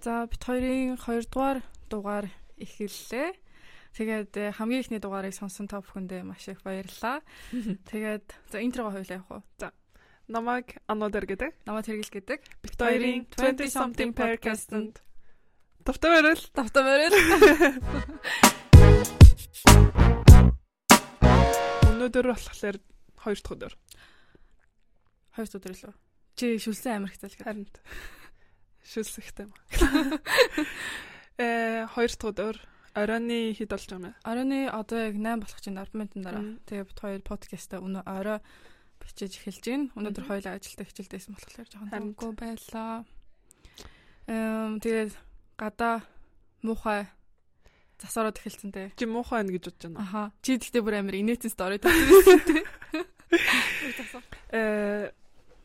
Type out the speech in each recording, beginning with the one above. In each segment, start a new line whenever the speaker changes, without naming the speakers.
За бит хоёрын 2 дугаар дугаар эхэллээ. Тэгээд э, хамгийн ихний дугаарыг сонсон та бүхэндээ маш их баярлалаа. Тэгээд за интрого хоёлаа явах уу? За
Намайг Анодер гэдэг.
намайг хэрэгэл гэдэг.
Бид хоёрын 20 something podcast-д Тавтай байрал.
Тавтам өрөөл.
Өнөөдөр болохоор 2 дахь өдөр.
Хоёр өдөр лөө. Чи шүлсэн Америкт л гэдэг.
Харин т- шүлсэхтэй юм. Э 2 дахь өдөр. Оройны хэд болж байгаа юм бэ?
Оройны одоо яг 8 болох чинь 10 минутын дараа.
Мгм.
Тэгээд бит хоёр подкаста өнөө орой бичиж эхэлж гин. Өнөөдөр
Мгм.
хоёлаа ажилдаа хичээлдээсэн болохоор жоохон
Харин.
томгүй байлаа. Эм тэгээд гадаа муухай засаараад эхэлсэн те.
Чи муухай байна гэж бодож байна.
Аха. Чи гэхдээ бүр амир инээсэн стори тавьчихсан тий.
Э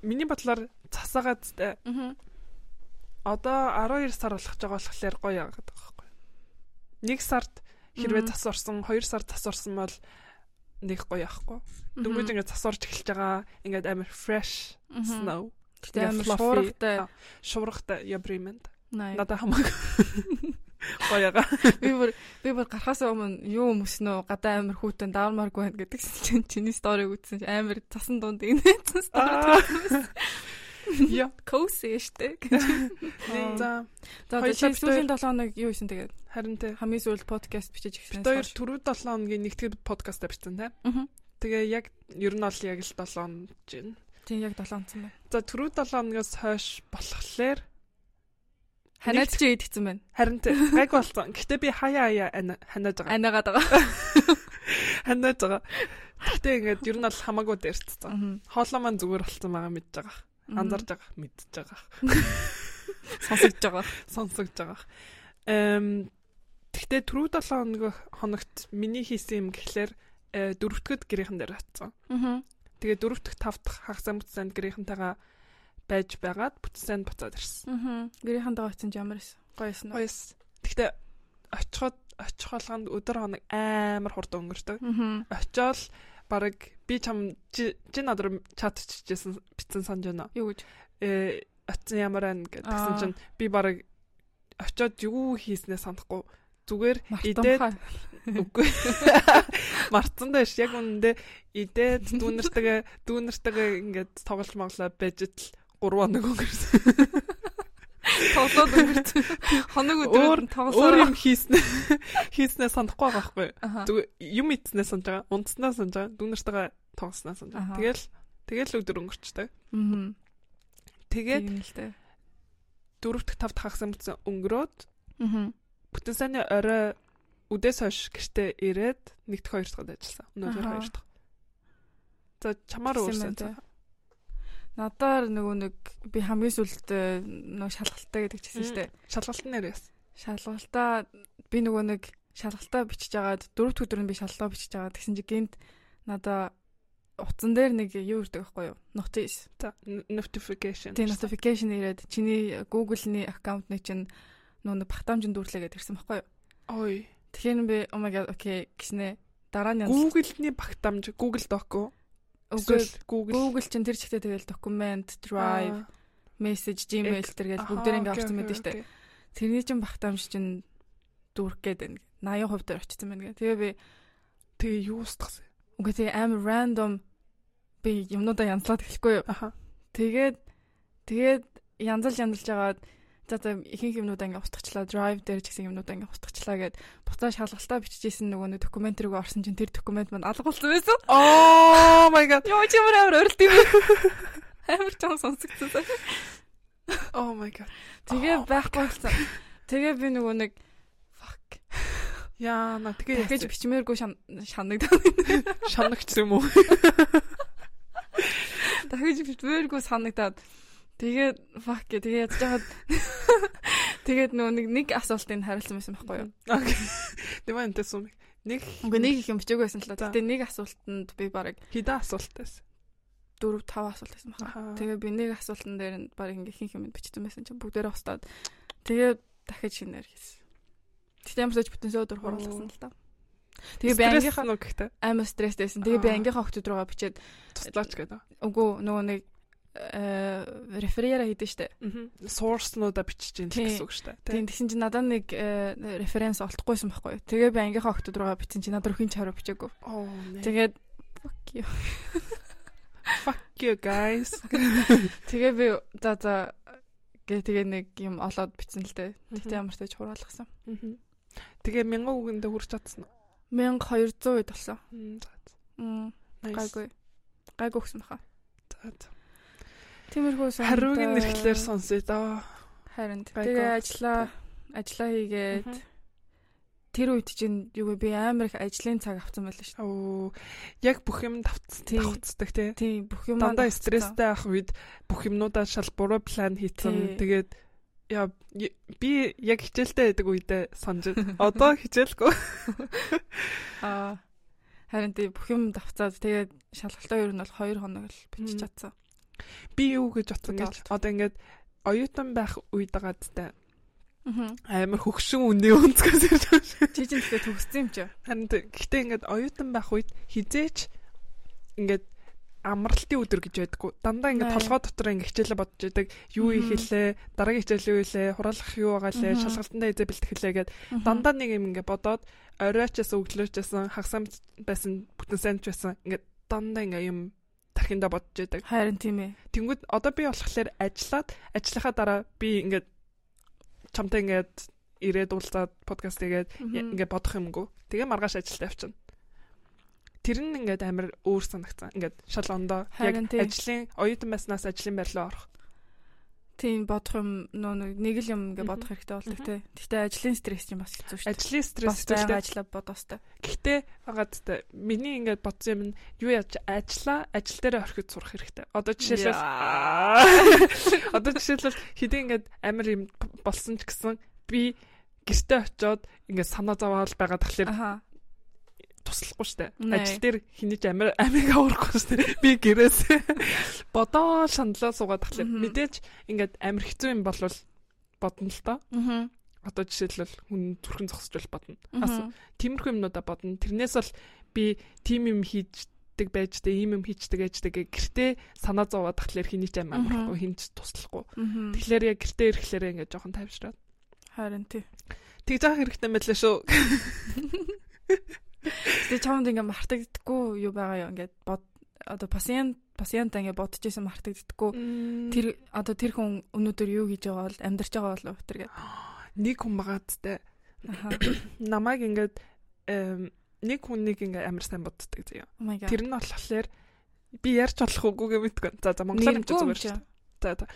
миний бодлоор цасаагаад зтэй.
Мгм.
одоо 12 сар болох жоо болохоор гоё яагаад байгаа байхгүй. Нэг сард хэрвээ
Мм.
зас орсон, 2 сар зас орсон бол нэг гоё яахгүй. Дөнгөж
Мгм.
ингээд зас орж эхэлж байгаа. Ингээд амар fresh
Мгм.
snow.
Гэхдээ
Яа,
амир
fluffy.
шуургатай.
Аа, Шуургатай ябримент.
Най.
Надаа хамаагүй. Гоёга.
Би бүр би бүр гарахаас өмнө юу өмснөө гадаа амир хүүтэн даавармааргүй байна гэдэгс чинь чиний сториг үзсэн чинь амир цасан дунд инээсэн стори.
Аа. Яа.
Коси штэ.
Нэг За
За
Хоёулаа
тэгэхээр
бид
сүүлийн 7 хоног юу хийсэн тэгээд
харин тэ.
хамгийн сүүлд подкаст бичиж эхэлсэн.
Бид хоёр түрүү 7 хоногийн нэгтгэл подкаст авчихсан тэ.
Мгм.
Тэгээ яг ер нь бол яг л 7 хоног чинь.
тийм яг 7 онцсон байна.
За түрүү 7 хоногоос хойш болохоор
Ханаад чи идэгцэн байна.
Харин тэ гайг болсон. Гэтэ би хаяа хаяа ана- ханаад байгаа.
Анаагаад байгаа.
Ханаад байгаа. Гэтэ ингээд ер нь бол хамаагүй дээрцсэн.
Мгм.
Хоолоо маань зүгээр болсон байгаа мэдж байгаа.
Мгм.
Анзарж байгаа, мэдж байгаа,
сонсож байгаа.
сонсогдж байгаа. Эм Гэтэ түрүү 7 хоног хоногт миний хийсэн юм гэхлээр э, дөрөвдөгд гэрийнхэн дээр атсан.
Аа.
Тэгээ дөрөвдөг тав дахь хагас бүтц санд гэрийнхэнтэйгээ байж байгаад бүтц санд буцаад ирсэн.
Аа. Гэрийнхэн дага очсон ч ямар эс. Гоёсэн уу?
Хоёс. Гэтэ очиход очих болгонд өдөр хоног амар хурд өнгөрдөг.
Аа.
очиол баг би чам чи чи над руу чатчихжсэн битсэн санаж байна.
Юу гэж?
Э очсон ямар байна гэж тэгсэн
Аа.
чинь би баг очиод юу хийснээ санахгүй зүгээр идээд
Мартамхай.
үгүй марцсан дээш яг үнэндээ идээд дүүнэртэйгээ дүүнэртэйгээ ингээд тоглож моглоо байж итл 3 хоног өнгөрсөн.
Тоглоод өнгөрсөн. Хоног
Өөр-
өдрөөр нь
Өөр
тоглосоо.
юм хийснэ хийснээ санахгүй байгаа байхгүй.
Аха.
Зүгээр юм ицснээ санаж байгаа. Унтснаа санаж байгаа. Дүүнэртэйгээ тоглосноо санаж
Аха.
байгаа. Тэгэл тэгэл өдөр өнгөрчтэй.
Мгм.
Тэгээд
Тийм л дээ.
дөрөвдөг тав дахь хагас бүтсэн өнгөрөөд
Аа.
бүтэн саяны орой үдээс хойш гэртээ ирээд нэгдэх хоёр дахь удаад ажилласан. Өнөөдөр
Аха.
хоёр дахь. За чамаар
Тэгсэн
уурсан.
байна те. Надаар нөгөө нэг би хамгийн сүүлд э, нөгөө шалгалтаа гэдэг ч гэсэн
Мм.
шүү дээ.
Шалгалт нь яасан.
Шалгалтаа би нөгөө нэг шалгалтаа бичиж агаад дөрөв дэх өдөр нь би шалгалтаа бичиж агаад тэгсэн чи гинт надаа утсан дээр нэг юу ирдэг байхгүй юу? Notice.
За н- notification.
Тэгээ notification ирээд чиний Google-ний аккаунтны чинь нөгөө нэг багтаамжинд дүүрлээ гэдэг ирсэн байхгүй юу?
Ой.
Тэгэхээр би oh my god okay гиснэ дараа нь янз-
Google-ний багтаамж Google Doc уу?
Google
Эсвэл Google
Google чинь тэр чигтээ тэгэл document, drive,
Аа,
message, Gmail тэргээл бүгдээр ингээ
окей,
орсон
окей,
мэт штэ.
окей.
Тэрний чинь багтаамж чинь дүүрэх гээд байна. 80% дээр очсон байна гэ. Тэгээ би
Тэгээ юу устгасан?
үгүй тэгээ амар random би юмнуудаа янзлаад эхлэхгүй юу.
Аха.
Тэгээд тэгээд янзал янзалж агаад за за ихэнх юмнуудаа ингээ устгачлаа, drive дээр ч гэсэн юмнуудаа ингээ устгачлаа гэд буцаа шалгалтаа бичижсэн нөгөө нэг документ рүү орсон чинь тэр документ манд алгуулсан байсан.
Oh my god.
Йоо чи мөр амар орилт юм. Амар ч юм сонсогдсон.
Oh my god.
Тэгээ
Oh my
байхгүй болсон. Тэгээ би нөгөө нэг fuck
Яа, на тэгээ
гэж
яасан?
бичмээргүй шан- шанагдаад
шанагч юм уу?
дахиж битвэргүй санагдаад тэгээд fuck гэ тэгээд ядж байгаад тэгээд нөгөө нэг нэг асуултыг хариулсан байсан байхгүй юу.
Окей. Дэвэн тэсүм. Нэг
Үгүй нэг их юм бичээгүй байсан л да.
За.
Тэгтээ нэг асуултанд би баг
хідэ асуултаас.
4 5 асуулт байсан байна.
Аха.
Тэгээд би нэг асуултан дээр нь баг ингээ хин хэмэнд бичсэн байсан чинь бүгдээрээ устаад тэгээд дахиж шинээр хийсэн. Тэгтээ ямар ч байж бүтэн сөөдөр хуруулсан л да. Тэгээд би ангийнхаа
Стресс нөө гэхдээ
амар стресстэйсэн. Тэгээ би
Аа.
ангийнхаа охтууд руугаа бичээд
туслаач гэдэг.
үгүй нөгөө нэг реферера хийдэж штэ.
Source-нуудаа бичиж ин гэсэн үг шүү дээ.
Тийм тэгсэн чинь надад нэг э, референс олдохгүйсэн байхгүй юу. Тэгээ би ангийнхаа охтод руугаа бичсэн чинь надад өрхийн чараа бичээгүй.
Оо.
Тэгээд fuck you.
Fuck you guys.
Тэгээ би за за гэ тэгээ нэг юм олоод бичсэн л дээ. Тэгтээ ямар ч тааж хураалгасан.
Мгм. Тэгээ 1000 үгэндээ хүрч чадсан.
1200 хэд болсон.
уу? За,
Мм,
nice.
Гайгүй. Гайгүй гэсэн баха.
За, за.
Тиймэрхүү сонд.
Хариугийн нэрхлээр сонсъё доо.
Харин
Гайгүй.
тэгээ ажлаа ажлаа хийгээд
Мгм.
тэр үед чинь юу вэ би амар их ажлын цаг авсан байлаа шүү.
Оо. Яг бүх юм давц
Тийм.
давцдаг тий.
дээ. Тийм бүх юм
Дандаа стресстэй авах үед бүх юмнуудаа шал буруу план
Тий.
хийцэн. Тэгээд яа й- би яг хичээлтэй байдаг үедээ санаж. Одоо хичээлгүй.
Аа. Харин тий бүх юм давцаад тэгээд шалгалтаа ер нь бол 2 хоног л бичиж
Мм.
чадсан.
Би юу гэж бодсон гэж
Бодолт.
одоо ингээд оюутан байх үед байгаа гэдэг
Аа.
амар хөгшин үний өнцгөөс ирж байгаа шиг.
Жижиг тэгээ төгссөн юм чи.
Харин тэ- гэхдээ ингээд оюутан байх үед хизээч ингээд амралтын өдөр гэж байдаггүй. Дандаа ингээд
Наа.
толгой дотор ингээд хичээлээ бодож байдаг. Юу
Мгм.
хийх хэлээ, дараагийн хичээл юу хэлээ, хураалгах юу байгаа лээ,
Мгм.
шалгалтандаа эзэ бэлтгэх хэлээ гэд дандаа нэг юм ингээд бодоод оройчээс өглөөчээсэн хагасам байсан, бүтэн сайн ч байсан ингээд дандаа ингээд юм тархиндаа бодож байдаг.
Харин тийм ээ.
Тэнгүүд одоо би болохоор ажиллаад ажиллахаа дараа би ингээд чамтай ингээд ирээд уулзаад подкаст хийгээд Я-
Мгм.
ингээд бодох юмгүй. Тэгээ маргааш ажилд явчихна. Тэр нь ингээд амар өөр санагцсан. Ингээд шал ондоо яг
Харин тий.
ажлын оюутан байснаас ажлын байр руу орох.
Тийм бодох юм нөө нэг- нэг л юм ингээ
Мгм.
бодох хэрэгтэй болдог
Мгм.
тий. Гэхдээ ажлын стресс чинь бас хэцүү шүү.
Ажлын
Бас
стресс
байга
үүсдэг.
ажиллаа бодоостой.
Гэхдээ хагаадтай. Миний ингээд бодсон юм нь юу яаж ажиллаа, ажил дээр орхид сурах хэрэгтэй. Одоо жишээлбэл
Яа.
одоо жишээлбэл хэдийн ингээд амар юм болсон ч гэсэн би гэртээ очиод ингээд санаа зовоол байгаа тахлаар
Аха.
туслахгүй штэ.
Нэ.
Ажил дээр хинэж амир амиг аврахгүй штэ. Би гэрээсээ бодоо шаналлаа суугаад тахлаа.
Мгм.
Мэдээж ингээд амир хэцүү юм болвол бодно л доо.
Мгм.
Одоо жишээлбэл хүн зүрхэн зогсож бол бодно.
Мгм.
Асуу. Тиймэрхүү юмнуудаа бодно. Тэрнээс бол би тим юм хийждэг байждаг, ийм юм хийждэг ээждэг гэх гэртээ санаа зовоод тахлаар хинэж амир
Мгм.
амархгүй хинж туслахгүй.
Мгм.
Тэгэхээр яг гэртээ ирэхлээр ингээд жоохон тайвшраад.
Харин тий.
Тэгж авах хэрэгтэй мэлээ шүү.
Тэгээ чамд ингээ мартагддаггүй юу байгаа юу ингээд бод одоо пациент пациентаа ингээ бодож исэн мартагддаггүй.
Тэр
Тэр одоо тэр хүн өнөөдөр юу хийж байгаа бол амьдарч байгаа болов уу тэр гэдэг.
нэг хүн багаадтай
Аха.
намайг ингээд эм, нэг хүнийг ингээд амар сайн боддог заяа.
Oh my god.
Тэр нь болохоор би ярьж болох үгүй мэдгүй. За за монголоор хэмжиж зүгээр шүү. дээ. За за.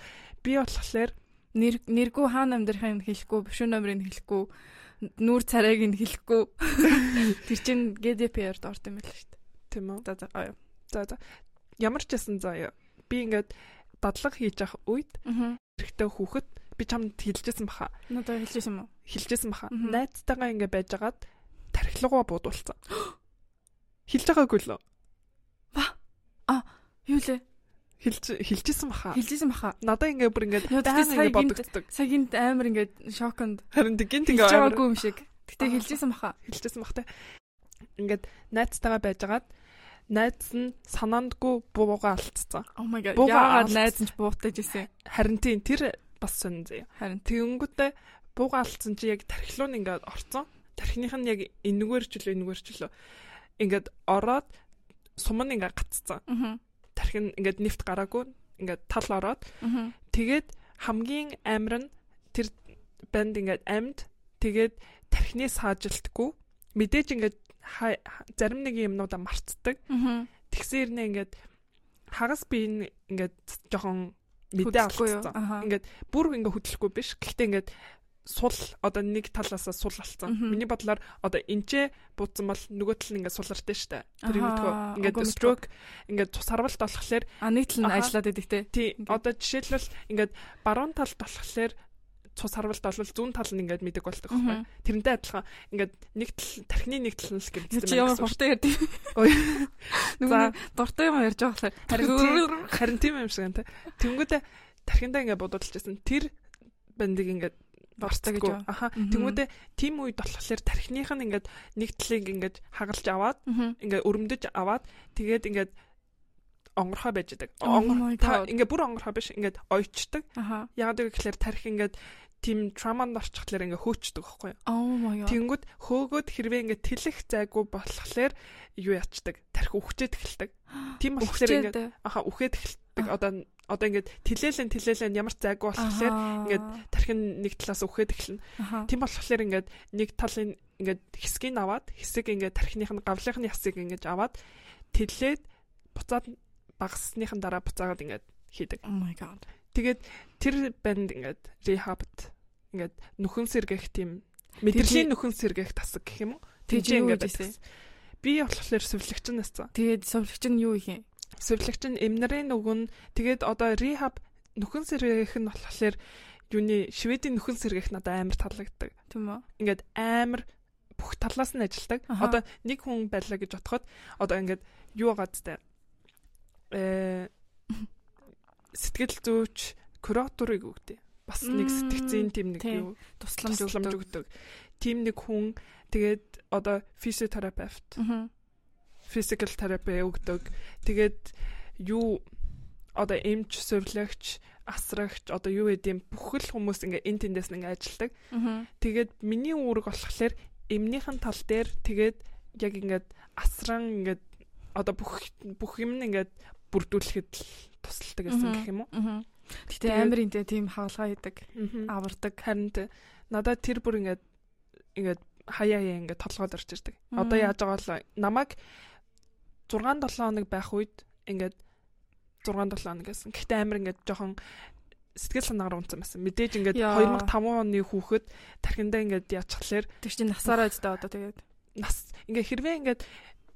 Би болохоор
Нэр нэргүй хаана амьдрахыг нь хэлэхгүй, бушуу номерыг нь хэлэхгүй, нүүр царайг нь хэлэхгүй. Тэр чинь GDPR-д орд юм байл шүү дээ.
тийм үү.
За за аа.
За за. Ямар ч байсан заяа. Би ингээд дадлаг хийж авах үед
Аа.
хэрэгтэй хүүхэд би чамд хэлжсэн баха.
Надад хэлж байсан юм уу?
Хэлжсэн баха.
Мгм.
Найдтайгаа ингээд байжгаад тархилгаа буудуулсан. Хэлж байгаагүй лөө.
Юу лээ?
Хэлж хэлжсэн баха.
Хэлжсэн баха.
Надаа ингээд бүр ингээд
Яа,
даан
тэгтээ сая
ингээд
гинт-
бодогддог.
Сая гинт амар ингээд шоконд
Харин тэг гинт
хэлж
ингээд амар-
байгаагүй юм шиг. Гэтэ
Аа.
хэлжсэн баха.
хэлчихсэн багтай. Ингээд найзтайгаа байжгаад найз нь санаандгүй буугаа алдсан.
Oh my god.
Буугаа
Яагаад
алц-
найз нь ч буутаж исэн.
Харин тийм тэр бас сонин зэ.
Харин
Тэгэнгүүтээ буугаа алдсан чи яг тархилуун ингээд орцсон. Тархиных нь яг энэгээр ч үлээ энэгээр ч үлээ ингээд ороод сум нь ингээд гаццсан.
Мгм.
Тархин ингээд нефт гараагүй ингээд тал ороод
Мгм.
тэгээд хамгийн амир нь тэр банд ингээд амд тэгээд тархины саажилтгүй мэдээж ингээд хай- ха- зарим нэг юмнуудаа мартдаг
Мгм.
тэгсэн ирнэ ингээд хагас би энэ ингээд жоохон мэдээ
Хөдөлгөхгүй юу?
алдсан.
Аха.
Ингээд бүр ингээд хөдлөхгүй биш. Гэхдээ ингээд сул одоо нэг талаасаа сул алдсан.
Мгм.
Миний бодлоор одоо энчээ буутсан бол нөгөө тал нь ингээд сулартай штэ. Тэр юм
Аха,
дгүй. Ингээд
үгүй мэдгүй.
stroke ингээд тус харвалт болохоор
А нийт л нь
Аха.
ажиллаад байдаг те.
тий
Ингээд.
одоо жишээлбэл ингээд баруун талд болохоор цус харвалт бол зүүн тал нь ингээд мэдэг болдог
Мгм.
байхгүй. Тэрнтэй адилхан ингээд нэг тал тархины нэг тал нь л гэрэлтсэн
Тэр чи
байна
ямар
гэсэн үг.
дуртай ярьд.
Ой. За.
Нүг дуртай юм ярьж байгаа
Харин
болохоор.
тийм- Харин тийм юм шиг энэ. Тэнгүүдээ тархиндаа ингээд бодуулчихсан. Тэр бандыг ингээд
Борцоо гэж
барцдаггүй.
юу?
Аха.
Мгм.
Тэнгүүдээ тийм үед болохоор тархиных нь ингээд нэг талыг ингээд хагалж аваад
Мгм.
ингээд өрөмдөж аваад тэгээд ингээд онгорхой байж байгаа.
Oh my
Онгор
God.
та ингээ бүр онгорхой биш ингээд ойчдаг.
Аха.
Яагаад гэвэл тарих ингээд тийм траманд орчихлоор ингээ хөөчдөг байхгүй юу?
Oh my god.
Тэнгүүд хөөгөөд хэрвээ ингээ тэлэх зайгүй болохлээр юу ячдаг? Тарих үхчээд эхэлдэг. Тийм болохоор ингээ
Өвчтэй.
аха үхээд эхэлдэг. Одоо одоо ингээд тэлээлэн тэлээлэн ямар ч зайгүй болохоор
Аха.
ингээд тарих нь нэг талаас үхээд эхэлнэ.
Аха.
Тийм болохоор ингээд нэг талын ингээд хэсгийг нь аваад хэсэг ингээд тархиных нь гавлынх нь ясыг ингээд аваад тэлээд буцаад багссных нь дараа буцаагаад ингээд хийдэг.
Oh my god.
Тэгээд тэр банд ингээд рехабт ингээд нүхэн сэргэх тийм мэдрэлийн нүхэн сэргэх тасаг гэх юм уу?
Тэгж
Тэнцээ
юу
ингээд
хийжээ?
байдаг. Би болохоор сүвлэгч нэсцэн.
Тэгээд сувлагч нь юу их юм?
Сүвлэгч нь эмнэрийн өгөн тэгээд одоо рехаб нүхэн сэргэх нь болохоор юуны шведийн нүхэн сэргэх надад амар таалагддаг.
Түм үү?
ингээд амар бүх талаас нь ажилдаг.
Аха.
Одоо нэг хүн байлаа гэж бодоход одоо ингээд юу гадтай э сэтгэл зүйч кураторыг өгдөө. Бас нэг
Мм,
сэтгцийн тим нэг
тий.
юу
Тусламж
тусламж
өгдөг.
өгдөг. Тим нэг хүн тэгээд одоо физиотерапевт,
Аха.
physical therapy өгдөг. Тэгээд юу одоо эмч, сувлагч, асрагч одоо юу гэдэм бүх л хүмүүс ингээд эн тэндээс нь ингээд ажилдаг.
Аха.
Тэгээд миний үүрэг болохоор эмнийхэн тал дээр тэгээд яг ингээд асран ингээд одоо бүх бүх юм нь ингээд бүрдүүлэхэд л тусалдаг гэсэн
Мгм.
гэх юм уу?
Мгм. Гэтэ
Тэгээд-
амар энтэй тийм хаалгаа хийдэг,
Аа.
авардаг.
Харин тэ надад тэр бүр ингээд ингээд хаяа яа ингээд толгойд орж ирдэг. Одоо
Мм.
яаж байгаа бол намайг 6 7 хоног байх үед ингээд 6 7 хоног гэсэн. Гэхдээ амар ингээд жоохон сэтгэл санаагаар унтсан байсан. Мэдээж ингээд
Яа.
2005 оны хүүхэд тархиндаа ингээд яачихлаар
Тэг чи насаараа ч даа одоо тэгээд.
нас ингээ хэрвээ ингээд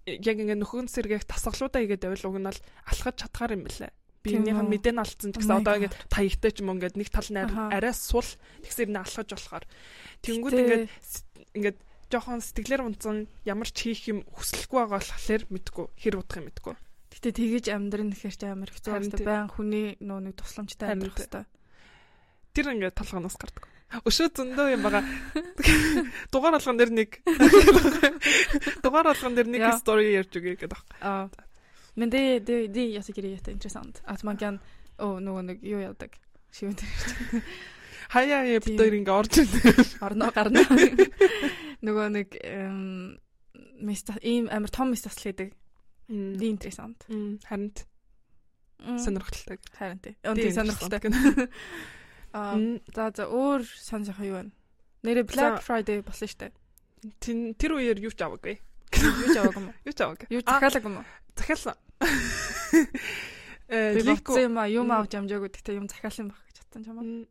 яг ингээ нөхөн сэргээх тасгалуудаа игээд байвал уг нь бол алхаж чадхаар юм билээ.
Тийм
Биенийх
үү?
нь мэдэн алдсан
Oh
ч
my
гэсэн одоо
God.
ингээд таягтай ч юм уу ингээд нэг тал нь
Аха.
ари- арай сул тэгсэр нь алхаж болохоор тэнгууд
Гэтэ-
ингээд с- ингээд жоохон сэтгэлээр унтсан ямар ч хийх юм хүсэлгүй байгаа болохоор мэдгүй хэр удах юм мэдгүй.
Гэтэ тэгэж амьдрын гэхэр чи амар хэцүү
Харин
болтой.
тэ.
Баян хүний нөө нэг тусламжтай
Харин
амьдрах
тэ.
хэвээр.
Тэр ингээд толгоноос гардаг. Өшөө зөндөө юм байгаа. Дугаар алган дээр нэг дугаар алган дээр нэг
Яа.
стори ярьж өгье гэдэг.
Ja. Men det, det, det, jag tycker det är jätteintressant. Att man kan, åh, någon, jo, jag tack. Skriv inte
Хаяа яа
Тийм.
бид хоёр ингээд орж ирдэг.
орно гарна. Нөгөө нэг эм мис ийм амар том мис тасл хийдэг.
Мм.
Ди интересант.
Мм, Харин т- сонирхолтой.
Харин тий. Өнтэй
Тийм,
сонирхолтой. Аа
Мм,
за за өөр сонирх юу байна? Нэрэ Black Friday болсон штэ.
тэн- Тэр үеэр юу ч аваагүй.
Юу ч аваагүй юм уу?
Юу ч аваагүй.
Юу
А,
захиалаагүй юм уу?
захиалсан. Э,
Би
лику-
бодсон юм аа юм
Мм.
авч амжаагүй гэхдээ юм захиалсан байх гэж бодсон ч юм уу?
Мм.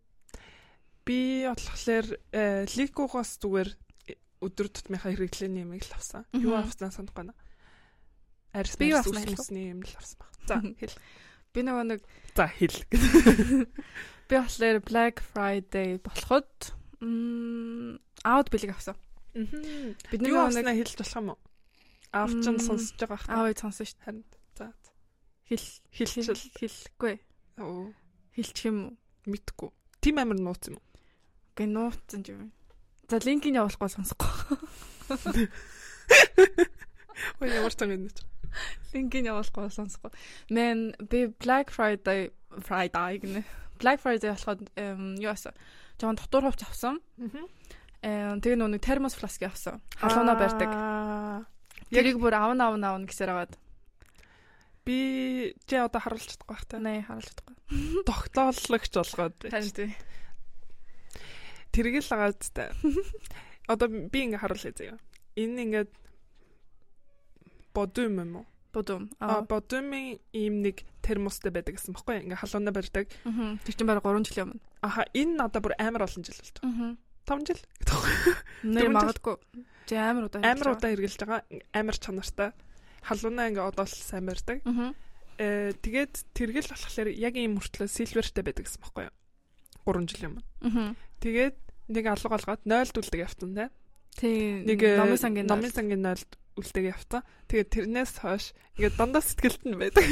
Би болохоор э, ликугоос зүгээр э, өдөр тутмынхаа хэрэглээний юм л авсан. Юу
Мгм.
авсан санахгүй байна. Арьс
Би юу
мэрс
авсан
үс
аялах уу?
мөсний юм л авсан баг. За хэл.
Би нөгөө нэг
За хэл.
би болохоор Black Friday болоход м аут бэлэг авсан.
Мгм.
Бид
Юу
нөгөө нэг
авснаа хэлж болох юм уу? Авчин
Мм.
сонсож байгаа хэ.
аавыг сонсон штэ.
Харин за
Хэл
хэлчихэл.
хэлэхгүй.
Оо.
Хэлчих юм уу?
мэдгүй. Тим амир нууц юм. уу?
Гэ нууцсан юм. За линкийг явуулахгүй сонсохгүй.
Ой ямар цаг юм бэ?
Линкийг явуулахгүй сонсохгүй. Мэн би Black Friday Friday гэнэ. Black Friday болоход эм, юу асан? Жохон дотор хувц авсан. Эм, Тэгээ нөгөө нэг термос фласки авсан. Халуунаа барьдаг. Тэрийг бүр авна авна авна гэсээр аваад.
Би чи одоо харуулж чадахгүй байх та.
Наа харуулж чадахгүй.
Тогтоологч болгоод байна.
Харин тий.
Тэргэл агаад та. Одоо би ингээ харуулъя заяа. Энэ ингээ бодум юм уу?
Бодом.
А
Аа.
бодумын ийм нэг термостой байдаг гэсэн баггүй ингээ халуунаа барьдаг.
мгм. Тэр чинь бараг 3 жил өмнө.
Аха энэ надад бүр амар олон жил болж
Аа.
байгаа. 5 жил.
Нэр
Дөрвөн жил.
магадгүй. Жи амар удаа.
Амар удаан хэрглэж байгаа. Амар чанартай. Халуунаа ингээ одоо л сайн барьдаг.
Аа.
Э, тэгээд тэргэл болохоор яг ийм мөртлөө силвертэй байдаг гэсэн байхгүй юу? 3 жил юм.
Аа.
Тэгээд нэг алга олгоод 0-д үлдэг явсан тийм.
Тий.
Нэг э,
номын сангийн
номын сангийн 0-д үлдэг явсан. Тэгээд тэрнээс хойш ингээд дандаа сэтгэлд нь байдаг.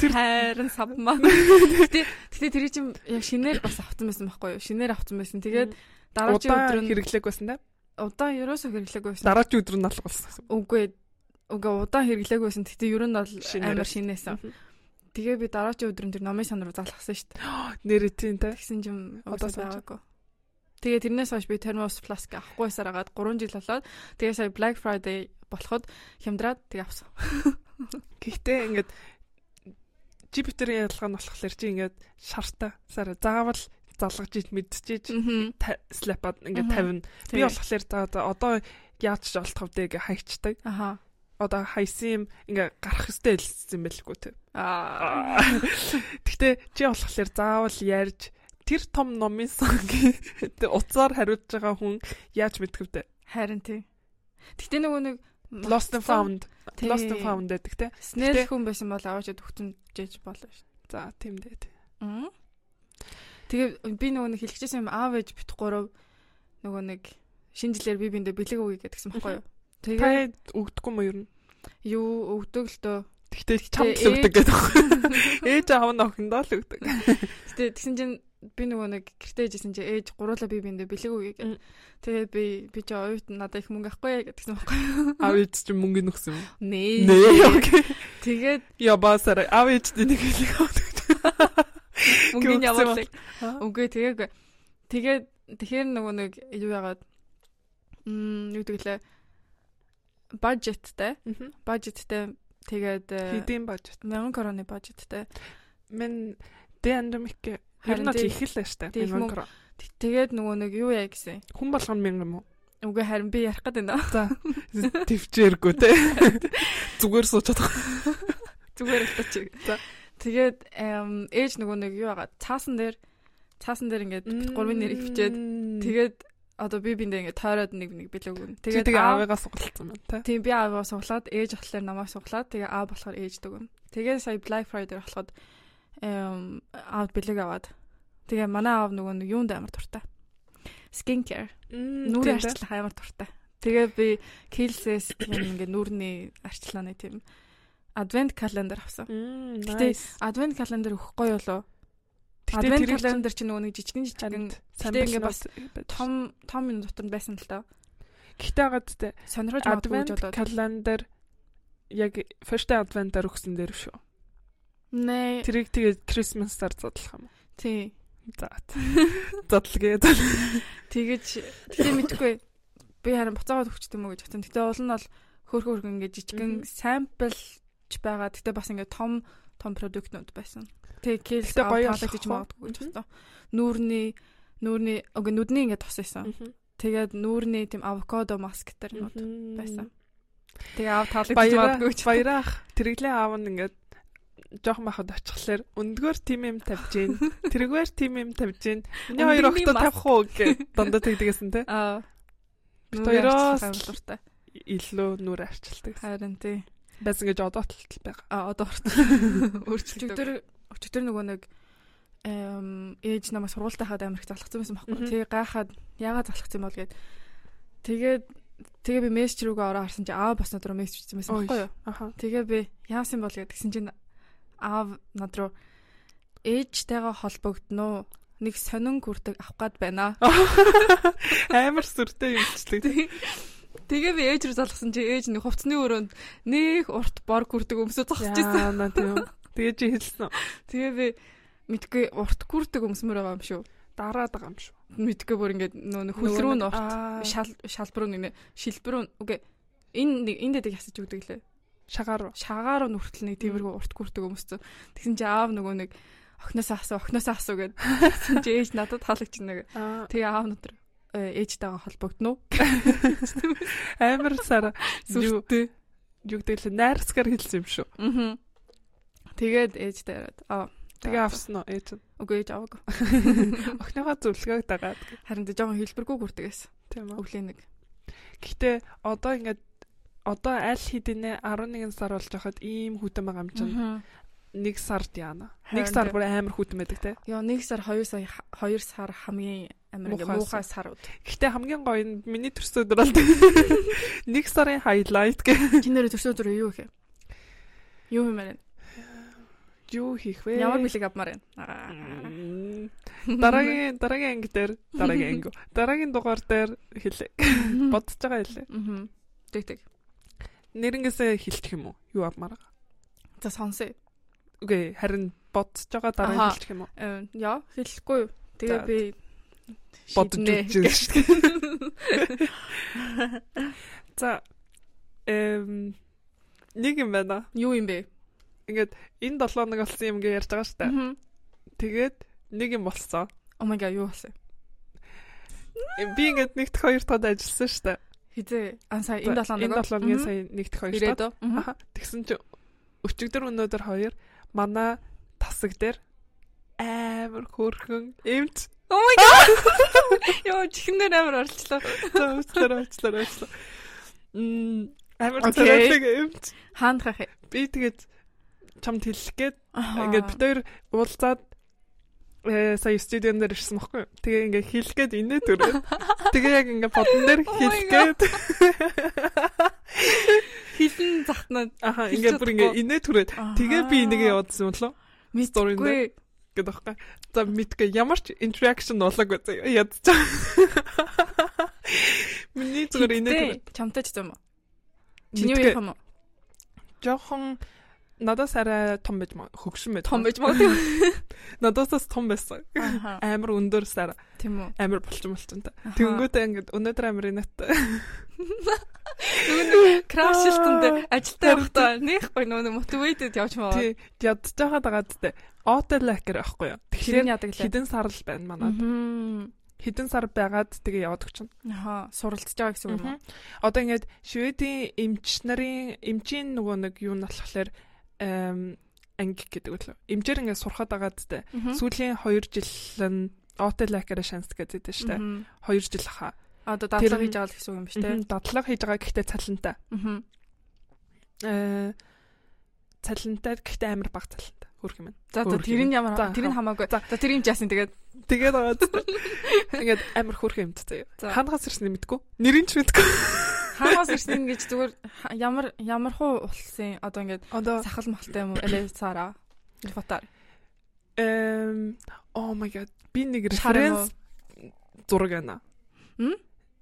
Тэр хайрын сав маа. Гэтэ гэтэ тэр чинь яг шинээр бас автсан байсан байхгүй юу? Шинээр автсан байсан. Тэгээд дараагийн
удаан
өдөр нь
хэрэглээг байсан тийм.
удаан ерөөсөө хэрэглээгүй байсан.
Дараагийн өдөр нь алга болсон гэсэн.
Үгүй ээ. үгүй удаан хэрэглээгүйсэн. Тэгтээ ер нь бол
Шинээр.
амар шинээсэн. Тэгээ би дараагийн өдөр нь тэр номын сан руу залгасан шүү дээ.
Нэрэтийн тэ.
Тэгсэн чинь
Одоо
одоо байгаагүй. Тэгээ тэрнээс хойш би термос фласк авахгүйсаар агаад 3 жил болоод тэгээ сая Black Friday болоход хямдраад тэгээ авсан.
Гэхдээ ингээд Jupiter-ийн ялгаа нь болохоор чи ингээд шартаа сараа заавал залгаж ид мэдчихэж
Мгм.
та- слапад
Мгм.
ингээд тавина. Би
Тэгээ.
болохоор за за одоо яаж ч олтхов дээ гэж хайчдаг.
Аха.
Одоо хайсан юм ингээ гарах ёстой хэлсэн байлгүй тэ.
Аа.
Гэхдээ чи болохоор заавал ярьж тэр том номын сангийн утсаар хариулж байгаа хүн яаж мэдгэв дээ.
Харин тий. Гэтэ нөгөө нэг
Lost and found.
Тий.
Lost and found гэдэг тэ.
Снэл
Гэтэ-
хүн байсан бол аваачаад өгчөнжэж болно шүү.
За тийм дээ. тий.
Мм. Тэгээ би нөгөө нэг хэлчихсэн юм аав ээж бит гурав нөгөө нэг шинэ жилээр би биндээ бэлэг өгье гэдгсэн байхгүй юу? Тэгээ
Та өгдөггүй мө юу?
юу өгдөг л дөө.
Гэхдээ чамд л
ээж-
өгдөг гэдэг байна. Ээж аав нь охиндоо л өгдөг.
Гэтэ тэгсэн чинь би нөгөө нэг гэртээ ээжсэн чинь ээж гуруула би биндээ бэлэг өгье
Мм.
гэд. Тэгээд би би чи оюут надад их мөнгө ахгүй гэдгсэн байхгүй юу?
Аав ээж чинь мөнгө нөхсөн юм.
Нээ.
Нээ окей.
Тэгээд
Ябасараа аав ээжтэй нэг хэлэг өгдөг.
мөнгөний
Үгсэн
явуулыг.
Аа.
Үгүй тэгээг. Тэгээд тэгэхээр нөгөө нэг юу яагаад м юу гэдэг лээ. Бажеттэй,
Мгм.
бажеттэй тэгээд э,
Хэдийн бажет.
1000 кроны бажеттэй.
Мен дэндэмик
Харин
хэрнээ
тий-
их л штэ.
тий, мөнгө. Т- Тэгээд нөгөө нэг юу яа гэсэн.
Хүн болгоно мянга юм уу?
Үгүй харин би ярих гэдэг нэ.
За. Твчээргүй те. Зүгээр суучаад байгаа.
Зүгээр л тач.
За.
Тэгээд эм, ээж нөгөө нэг юу яагаад цаасан дээр цаасан дээр ингээд бит гурвын нэрийг бичээд тэгээд одоо би биндээ ингээд тойроод нэг нэг билэг өгнө.
тэгээд
Тэгээд
тэгээ
аав
аавыгаа сугалцсан байна те.
Тийм би аавгаа суглаад ээж болохоор намайг суглаад тэгээ аав болохоор ээж дөгөн. Тэгээ сая Black Friday болоход эм аав бэлэг аваад тэгээ манай аав нөгөө нэг юунд амар дуртай. Skincare нүрийн арчилгаа амар дуртай. Тэгээ би Kiehl's тийм ингээ нүрийн арчилгааны тийм Advent calendar авсан. Гэтэ
Гэтэ
Advent calendar өгөхгүй юу лөө?
тэгтээ
Advent
тэр хэлэн
calendar чинь нөгөө нэг жижигэн жижигэн Гэтэ
сайн
ингээ
ингээ
бас
бас том
том том юм дотор нь байсан л та.
гэтээ агаад те.
Сонирхож магадгүй
Advent
гэж бодоод.
calendar яг first advent-аар өгсөн дээр шүү.
Нэ
Тэрийг тэгээд Christmas-аар задлах юм.
тий.
За. Задлгээ. задлгээ.
Тэгэж тэгээ мэдхгүй би харин буцаагаад өгчт юм уу гэж бодсон. Гэтэ уул нь бол хөөх хөөх ингээд жижигэн
Мгм.
sample ч байгаа. Гэтэ бас ингээд том том продуктнууд байсан. Тэгээ кейс
Гэтэ гоё
таалагдчих
болох.
магадгүй гэж бодсон. Нүүрний нүүрний үгүй нүдний ингээд тос байсан. Тэгээд нүүрний тийм авокадо маск төр нууд байсан. Тэгээ ав таалагдчих
Баяраа
магадгүй гэж.
баяраах тэрглээ аав нь ингээд жоохон бахад очихлаар өндгөр тим юм тавьж гин тэргээр тим юм тавьж гин миний хоёр
Өндгөрний
охтоо
мас.
тавих уу гэ дандаа тэгдэгэсэн те
Аа
Бид
нүрийн
хоёроос
арчилгаа амар дуртай.
илүү нүрэ арчилдаг
Харин тий.
байсан гэж одоо толтол байгаа
А одоо орт.
өөрчлөгдөв
Өчигдөр өчигдөр нөгөө нэг эм ээж намайг сургуультай хаад Америк залхсан байсан байхгүй.
Мгм.
Тэгээ гайхаад яагаад залхсан бол гээд тэгээд тэгээ би мессеж рүүгээ ороо харсан чи аав бас надруу мессеж хийсэн байсан байхгүй юу.
аха
Тэгээ би яасан бол гээд гисэн чинь аав надруу ээжтэйгээ холбогдно уу? Нэг сонин күрдэг авах гад байна.
амар сүртэй юмчлэг
Тэгээ би ээж рүү залгсан чи ээж нэг хувцсны өрөөнд нэг урт бор күрдэг өмсө зогсож байсан.
яана тийм тэгээ чи хэлсэн үү?
Тэгээ би мэдгүй урт күрдэг өмсмөр байгаа юм шүү.
дараад байгаа юм шүү
мэдгүй бүр ингээд нөө нөх хөл рүү нурт
Аа,
шал шалбар руу нэ шилбэр рүү үгүй энэ нэг энэ дэдэг ясаж өгдөг лээ
шагаар
шагаар руу нүртэл нэг тиймэрхүү урт күрдэг өмсцөө тэгсэн чи аав нөгөө нэг охноосоо асуу охноосоо асуу гэд тэгсэн чи ээж надад халагчна гэ
аа
тэгээ аав нутар ээжтэйгээ холбогдно уу
амар сара юу
сүртэй
юу гэдэг л найрсгаар хэлсэн юм шүү
аа тэгээд ээжтэй яриад аа
тэгээ авсан уу ээж нь?
үгүй ээж аваагүй
охиныхоо зөвлөгөөг дагаад
харин тэ жоохон хэлбэргүй күрдэг эс
тийм үү
өглөө нэг
Гэхдээ одоо ингээд одоо аль хэдийнэ 11 сар болж байхад ийм хүүтэн байгаа юм чинь.
аа
Нэг сард яана.
Харин
Нэг сар
тийм.
бүр амар хүүтэн байдаг те.
Яа нэг сар 2 сар 2 сар хамгийн амар ингээ
Муухай
муухай сарууд.
Гэхдээ хамгийн гоё нь миний төрсөн өдөр бол нэг сарын хайлайт гэх
Чи нэр төрсөн өдөр юу их вэ? Юу юм бэ?
юу хийх вэ?
Ямар бэлэг авмаар байна. Аа.
Мм. Дараагийн дараагийн анги дээр дараагийн анги. Дараагийн дугаар дээр хэлээ. Бодож байгаа хэлээ.
Мгм. Тэг тэг.
нэрнгээсээ хилчих юм уу? Юу авмаар.
За сонсөө.
Үгүй харин бодсож байгаа дараа нь
Аха.
хилчих юм уу?
Э, Яа хэлэхгүй. юу. Тэгээ
За,
би
бодож
шийднэ.
үзчихсэн шүү дээ. За эм нэг юм байна.
Юу юм бэ?
Ингээд энэ 7 нэг болсон юм гээ ярьж байгаа шүү дээ.
Мгм.
Тэгээд нэг юм болсон.
Oh my god юу болсон?
Э, Би ингээд нэгт хоёр тод ажилласан шүү дээ.
Хизээ. Аа сая энэ 7
энэ 7 нэг сая нэгт хоёр тод.
ирээд үү? Мгм.
Аха, Тэгсэн чи өчигдөр өнөөдөр хоёр манай тасаг дээр амар хөөрхөн эмч
Oh my god. Йоо чихнэр амар орчлоо.
зөөцлөр очлоор очлоо. Мм амар
Окей.
царайлаг эмч.
Хаанд хах.
Би тэгээд чамд хэлэх гээд ингээд бид хоёр уулзаад э сая студион дээр ирсэн баггүй. юу? Тэгээ ингээд хэлэх гээд инээ төрөө. Тэгээ яг ингээд бодон дээр
Oh my
хэлэх гээд
хилэн захнаад
аха
Хэлж
ингээд бүр ингээд
чадахгүй.
инээ төрөөд тэгээ би энийг явуулсан болоо. story-нд.
мэдгүй.
гэдэг байхгүй. За мэдгүй ямар ч interaction болоогүй заяа ядчих. Миний зүгээр инээ
Хиттэй.
тэр.
чамтай ч юм уу? Чиний үеийнх юм уу?
жоохон надаас арай том байж маа хөгшин байж.
Том байж магадгүй.
Надаас бас том байсан.
Аха.
Амар өндөр сараа
Тийм үү.
амар болчих молтон та.
Аха.
Тэнгүүтээ ингээд өнөөдөр амар инээт.
Нөгөө нэг краш шилтэнд
Аа.
ажилтаа явахдаа нэхгүй нөгөө нэг мотивэйтэд явж маа.
Тий ядчих байгаа гэдэгтэй. Отелэкер байхгүй юу?
Тэр
Тэгэхээр
нь ядаг лээ.
хідэн сар л байна манай.
Мгм.
Хідэн сар байгаад тэгээ яваад өгч
Аха, суралцж байгаа гэсэн үг юм уу?
Мгм. Одоо ингээд Шведийн эмч нарын эмчийн нөгөө нэг юу нь болохоор эм, анги гэдэг үлээ. Эмчээр ингээд сурхаад байгаа дэхтэй.
Мгм.
Сүүлийн 2 жил нь Отелакера шанс гэдэг дээ штэ.
Мгм.
2 жил хаа.
А, Одоо дадлага
Тэр-
хийж байгаа л гэсэн үг юм биш үү?
Мгм, Дадлага хийж байгаа гэхдээ цалинтай.
Аа.
Э, Цалинтай гэхдээ амар бага цалинтай. Хөрх юм. байна.
За за
Өөр
тэр нь ямар
За,
тэр нь хамаагүй. За тэр юм жаасан тэгээд
Тэгээд байгаа дэхтэй. Ингээд амар хөрх юмтай.
За.
Ханагаас ирсэн юм мэдгүй. Нэрийн ч мэдгүй.
хаанаас ирсэн гэж зүгээр ха- ямар ямар хуу улсын одоо ингээд
Одоо
сахал малтай юм уу? Элесара. Репортер.
эм oh my god би нэг
Шар юм уу?
референс зураг байна.
М?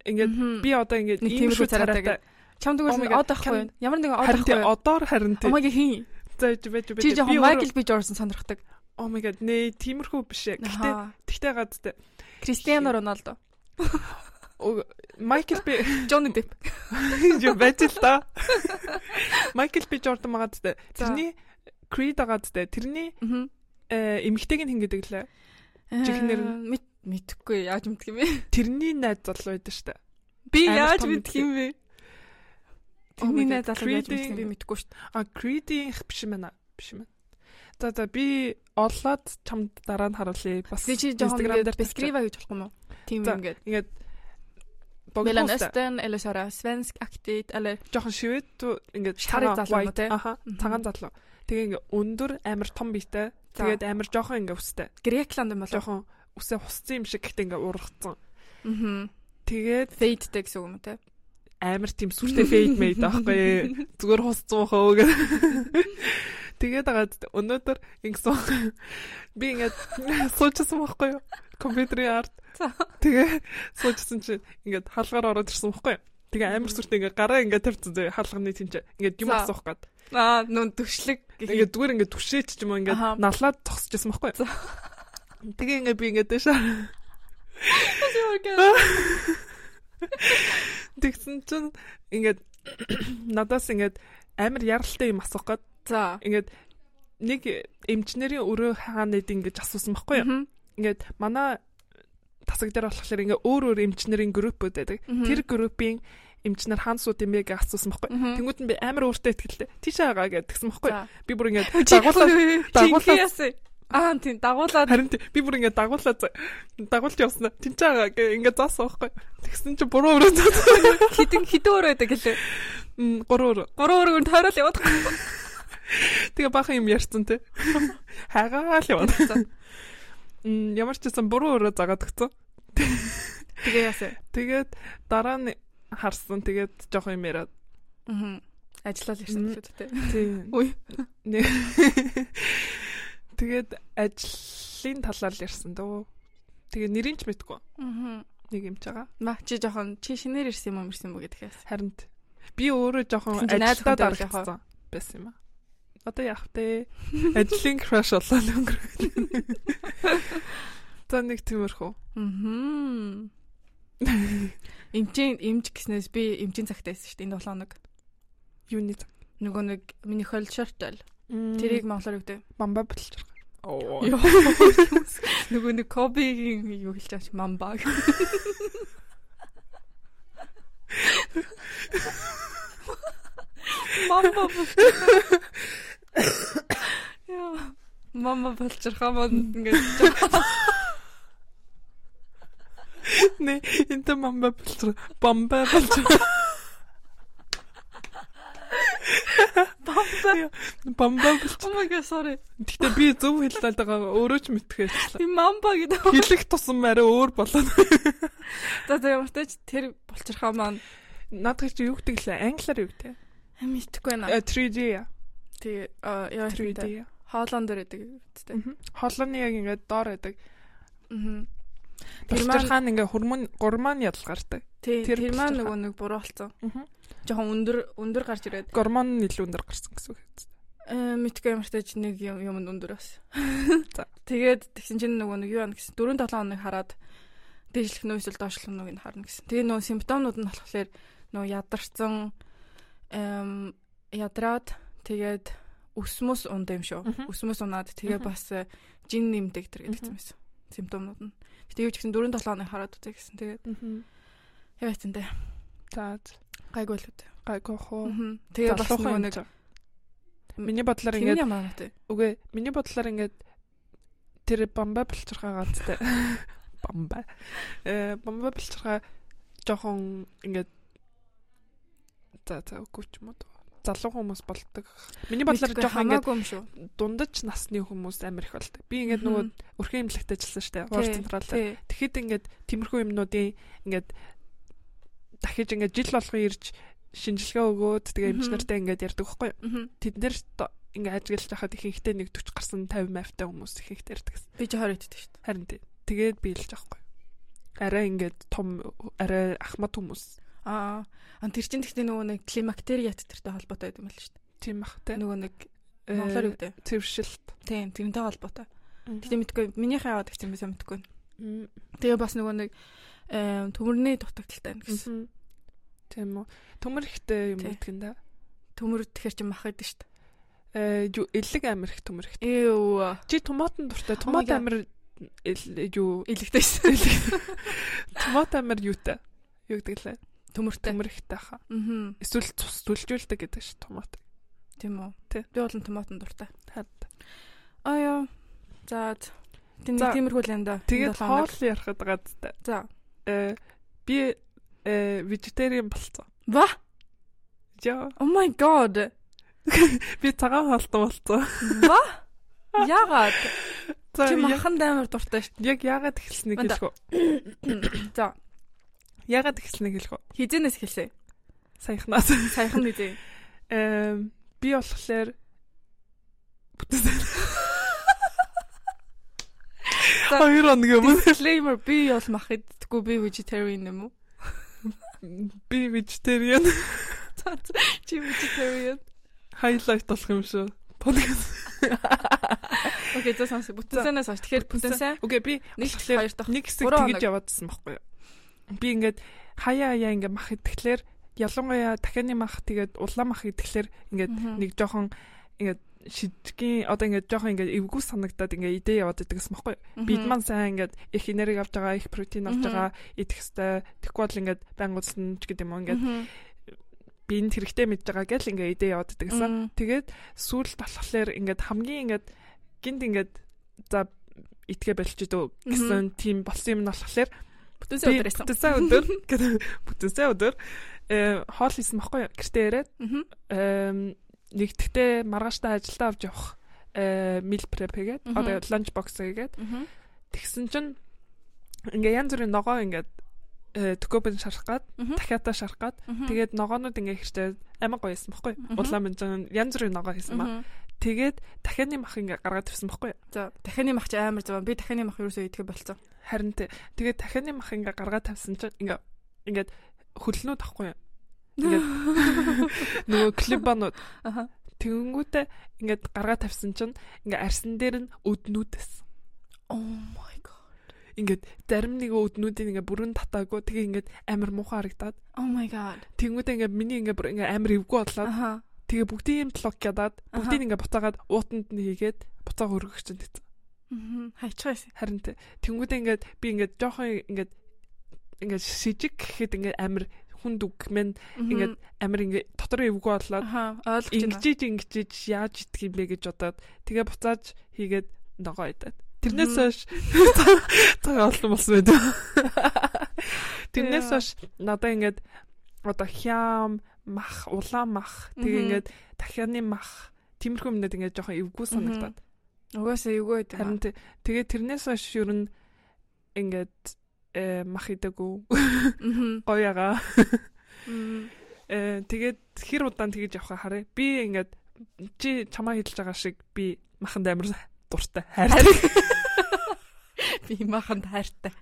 Ингээд би одоо ингээд
Нэг
ийм
тиймэрхүү
шүү
царайтай
царайтай.
Чам
Oh
дгүүс
my
нэг
God.
од ахгүй. юу? Ямар нэгэн од
Харин тий
ахгүй.
одоор харин тий.
Омагийн хин.
Зааж байж байж.
Чи
Би
жоохон
өөрөө-
Майкл би Джордан сонирхдаг.
Oh my god нэ тиймэрхүү биш ээ. Гэтэ
Аха.
тэгтээ гадтай.
Кристиано Роналдо.
Майкл би
Джонни Деп.
юу байж л та. Майкл би Джордан магадтай.
За.
Тэрний Creed гадтай. Тэрний
Аа.
э, эмэгтэйг нь хин гэдэг лээ. Чихнэр нь.
мэд мэдхгүй яаж мэдх юм бэ?
Тэрний найз залуу байдаг штэ.
Би
Амар
яаж
том
мэдх
мэдээ.
юм бэ?
Oh my
Тэний
God,
найз залуу яаж мэдх
Creed-ийн-
юм би мэдхгүй шүү дээ.
А Creed-ийнх биш юм байна. Биш юм байна. За за би олоод чамд дараа нь харуулъя. Бас
Тэгээ чи жоохон
Instagram
ингээд
дээр
бискрива гэж болох юм уу? Тийм
За,
юм ингээд.
Ингээд
Мелан
богдоостай.
Эстен, Элисара, Свенск актит аль
Жохон шивэд ингээд
Шарыг
цагаан,
залуу юм уу,
white,
те?
Аха,
Мгм.
цагаан залуу. Тэгээ ингээд өндөр амар том биетэй.
За.
Тэгээд амар жоохон ингээд өстэй.
Грекланд юм болов.
Жоохон үсээ хусцсан юм шиг гэхдээ ингээд ургацсан.
Аа.
Тэгээд
Фейдтэй гэсэн үг юм те.
амар тийм сүртэй fade made байхгүй. Зүгээр хусцсан хөө гэх. Тэгээд агаад өнөөдөр ингэсэн би ингээд суучсан байхгүй юу? Компьютерийн арт.
За.
Тэгээ суучсан чинь ингээд хаалгаар ороод ирсэн байхгүй юу? Тэгээ амар сүртэй ингээд гараа ингээд тавьчихсан зөө хаалганы тэнцээ. Ингээд юм
За.
асуух гээд.
Аа, нүн төвшлэг
Тэгээд зүгээр ингээд түшээч ч юм уу
Аха.
ингээд налаад зогсчихсан байхгүй юу? Тэгээ ингээд би ингээд дэшаа
Гэх-
тэгсэн чинь ингээд надаас ингээд амар яралтай юм асуух гээд
За.
ингээд нэг эмчнэрийн өрөө хаана нэд ингэж асуусан байхгүй юу?
Мгм.
Ингээд манай тасаг дээр болохоор ингээ өөр өөр эмчнэрийн группүүд байдаг.
Мгм.
Тэр группийн эмчнэр хаан сууд юм бэ гэж асуусан байхгүй юу?
Мгм.
Тэнгүүд нь би амар өөртөө ихтэй. Тийш байгаа гэж тэгсэн байхгүй юу?
За.
Би бүр ингээд
Дагуулаа.
дагуулаад дагуулаад-
Дагуулаа. Аа, тийм дагуулаад.
харин тий- би бүр ингээд дагуулаад за- дагуулж явсан. Тийш байгаа гэ ингээд заасан байхгүй юу? Тэгсэн чи буруу өрөө заа.
хитэн хитэн өөр байдаг гэлээ.
Гурван өрөө.
Гурван өргөн тойрол яваад.
Тэгээ бахан юм ярьсан тий. Хагаал яваад.
За.
М, Ямар ч гэсэн буруу өрөө загаад өгсөн.
Тэгээ яасаа.
Тэгээд дараа нь харсан. Тэгээд жоохон юм яриад.
Аа. Ажиллаад ирсэн
Мгм.
шүү дээ.
Тийм.
Үй.
Тэгээд ажлын талаар л ярьсан дөө. Тэгээ нэрийн ч мэдгүй
Аа.
нэг юм чагаа.
Маа чи жоохон чи шинээр ирсэн юм уу ирсэн юм бүү гэдэг яасаа.
Харин т- Би өөрөө жоохон
Тэгсэн чинь найз
ажилдаа
хүнтэй байх
дарагдсан байсан юм аа. Одоо яах вэ? Ажлын краш болоо л өнгөрөх. За нэг тиймэрхүү.
Мм. Эмчийн эмч гэснээс би эмчийн цагтаа байсан шүү дээ энэ 7 хоног.
Юуны
Нөгөө нэг миний хол шортол.
тэрийг
Тэрийг монголоор өгдөө.
бамба бэлж байгаа. Оо.
Юу. Нөгөө нэг Кобигийн юу хэлж байгаа ч мамба. Мамба болчих. Яа. Мамба болчих хамаа ингэж.
Нэ, энэ бамба бэлж байгаа. Бамба бэлж
Мамба.
бамба бэлж.
Oh my god sorry.
Гэтэ би зөв хэллээд байгаа өөрөө ч мэдчихэж.
Би мамба гэдэг.
Хэлэх тусам арай өөр болоо.
За за ямар ч тач тэр болчих хамаа
Надад чи юу гэдэг лээ? Англиар юу гэдэг?
ам итгэхгүй
Э,
байна.
3D.
Тэгээ а, яа хэрэгтэй.
3D.
Хоолондор гэдэг үстэй.
Холны яг ингээд доор байдаг.
Аа. Тэр
Тэр
маань
хаан ингээ хурман гурман ядалгартай.
тий,
тэр
тэр маань
булчирхаа.
нөгөө нэг буруу болсон.
Аа.
Жохон өндөр өндөр гарч ирээд
Гормон нь илүү өндөр гарсан гэсэн үг.
э, мэдгүй юм шигтэй ч нэг юм юмд өндөр бас.
За.
Тэгээд тэгсэн чинь нөгөө нэг юу ана гэсэн 4 7 хоног хараад дэжлэх нөө эсвэл доошлох нөөг нь харна гэсэн. Тэгээ нөгөө симптомнууд нь болохоор нөгөө ядарсан эм ядраад тэгээд өсмөс унд юм
Мгм.
шүү. Өсмөс унаад тэгээ
Мгм.
бас э, жин нэмдэг тэр гэдэг юм байсан. Симптомнууд нь. Гэтэ юу ч гэсэн 4 7 хоног хараад үзье гэсэн. Тэгээд
Аа.
яваа тэндэ
За
гайгүй л үү.
гайгүй хоо.
Мгм. Тэгээ бас нөгөө нэг
Миний бодлоор
Миний
ингээд
ямар нөтэй.
үгүй миний бодлоор ингээд тэр бамба бэлчирхаа ганцтай бамба э бамба бэлчирхаа жоохон ингээд за за үгүй ч юм уу залуу хүмүүс болдог. Миний бодлоор
Мэдгүй,
жоохон ингээд
хамаагүй юм шүү.
дундаж насны хүмүүс амар их болдог. Би ингээд нөгөө
Мгм.
өрхөн имлэгт ажилласан шүү дээ. Хуур
Тий,
централ.
тий.
Тэгэхэд ингээд тиймэрхүү юмнуудын ингээд дахиж ингээд жил болгон ирж шинжилгээ өгөөд тэгээ
Мгм.
эмчнэртэй ингээд ярьдаг байхгүй юу?
Мгм.
Тэд нэр т- ингээд ажиглаж байхад ихэнхдээ нэг 40 гарсан 50 мафтай хүмүүс ихэнхдээ ирдэг гэсэн.
Би ч 20 иддэг шүү дээ.
Харин тий. Тэгээд биелж байхгүй юу? Арай ингээд том арай ахмад хүмүүс
Аа. ан Тэр чинь тэгтээ нөгөө нэг климактериат тэртэй холбоотой гэдэг юм байл шүү
тийм Э, бахтай.
дээ. Нөгөө нэг монголоор үгтэй.
төвшилт.
Тийм, тэрнтэй холбоотой. Тэгтээ мэдгүй минийхэн яваад гэсэн юм сайн мэдгүй.
Мгм.
Тэгээ бас нөгөө нэг эм, төмөрний дутагдaltaй байна гэсэн.
Мгм. Тийм үү. Төмөр ихтэй юм
Тий.
гэдэг нь да.
Төмөр тэгэхэр чинь мах идэв шүү
Э юу, элэг амир их төмөр ихтэй.
дээ. Эв.
Чи томатн дуртай.
Oh my
Томат
God.
амир эл- юу
Илэгтэй шүү дээ.
Томат амар юутай? Юу гэдэг лээ?
Төмөртэй.
Төмөрхтэй хаа.
Аа.
Эсвэл цус түлжүүлдэг гэдэг ш томат.
Тийм үү.
Тий.
Би болон томатон дуртай.
Хад.
Аа ёо. За. Тэний
За.
тиймэрхүү л энэ да.
Тэгээд
Долоо хоног.
хоол ярахад гадтай.
За.
Э би э вегетариан болсон.
Ва?
Яа.
Oh my god.
Би цагаан хоолтой болсон.
Ва? Ягаад?
За
Чи
яг-
махан амар дуртай шүү.
яг яагаад эхэлснийг
Манда.
хэлэх үү?
За.
Яагаад эхэлснийг хэлэх үү?
Хизэнээс эхэлсэн.
Саяхнаас.
Саяхан хизээ.
Э би болохоор
За.
Хоёр хоног өмнө
Disclaimer би бол мах иддэггүй би vegetarian юм уу?
би вегетариан
За, за. Чи vegetarian.
хайлайт болох юм шүү. Подкаст.
Окей, за сонс. Бүтэнээс хойш. Тэгэхээр бүтэнсэн.
Окей, би
Нэг
болохоор
хоёр дахь.
нэг хэсэг
Гурван
тэгж
хоног.
яваадсан байхгүй юу. Би ингээд хаяа хаяа ингээд мах идэхлээр ялангуяа дахианы мах тэгээд улаан мах идэхлээр ингээд
Мгм.
нэг жоохон ингээд шидгийн одоо ингээд жоохон ингээд эвгүй санагдаад ингээд идэ яваад идэгсэн байхгүй юу. Бид
Мгм.
маань сайн ингээд их энерги авч байгаа, их протеин авч
Мгм.
байгаа идэх хэвээр тэгэхгүй бол ингээд байнгутсан ч гэдэг юм уу ингээд
Мгм.
би энэ хэрэгтэй мэдж байгаа гэл ингээд идэ яваад идэгсэн.
Мгм.
Тэгээд сүүлд болохоор ингээд хамгийн ингээд гинт ингээд за итгэ болчих дөө гэсэн тийм болсон юм нь болохоор
Бүтэнсэн
би
өдрөөсөн.
бүтэнсэн өдөр гэдэг бүтэнсэн өдөр э хоол исэн баггүй юу? гэртээ ирээд
Мгм.
эм, нэгдэхдээ маргааштай ажилдаа авч явах э мил преп хийгээд
Мгм.
одоо ланч бокс хийгээд
Мгм.
тэгсэн чинь ингээ янз бүрийн ногоо ингээд э төгөөбн шарах гад
Мгм.
дахиатаа шарах гад
Мгм.
тэгээд ногоонууд ингээ хэрэгтэй амар гоё исэн баггүй юу?
Мгм.
улаан мэнжин янз бүрийн ногоо хийсэн ба
Мгм.
тэгээд дахианы мах ингээ гаргаад тавьсан баггүй юу?
За, дахианы мах чи амар зав. Би дахианы мах юу ч идэхгүй болсон.
Харин тий. Тэгээд дахианы мах ингээ гаргаад тавьсан чинь ингээ ингээд хөлнүүд ахгүй. Ингээд нөгөө клип банууд
Аха.
тэгэнгүүтээ ингээд гаргаа тавьсан чинь ингээд арсан дээр нь өднүүдээс
Oh my god.
ингээд зарим нэг өднүүдийн ингээд бүрэн татаагүй тэгээ ингээд амар муухай харагдаад
Oh my god.
тэгэнгүүтээ ингээд миний ингээд бүр ингээд амар эвгүй бодлоо
Аха.
тэгээ бүгдийн юм блок ядаад бүгдийг ингээд буцаагаад уутанд нь хийгээд буцаа хөргөх чинь гэсэн.
Мгм. Хайчихсан.
Харин тэ- тэнгүүдээ ингээд би ингээд жоохон ингээд ингээд шижиг гэхэд ингээд амар хүнд үг мэн
Мгм.
Ингээд амар ингээд дотор эвгүй болоод
аха ойлгож байна.
ингэж ингэж яаж идэх юм бэ гэж бодоод тэгээ буцааж хийгээд ногоо идээд. Тэрнээс
Мгм.
хойш цаг олон болсон байд. Тэрнээс
Яа.
хойш надаа ингээд одоо хям мах, улаан мах
Мгм.
тэгээ ингээд дахианы мах тиймэрхүү юмнууд ингээд жоохон эвгүй санагдаад.
Угаасаа юу гэдэг юм.
Харин тэ- тэгээ тэрнээс хойш ер нь ингээд э мах идээгүү
Мгм.
гоё ягаа.
Мгм.
Э, тэгээд хэр удаан тэгэж явах хараа. Би ингээд чи чамаа хилж байгаа шиг би маханд амар дуртай хайртай.
Би маханд хайртай.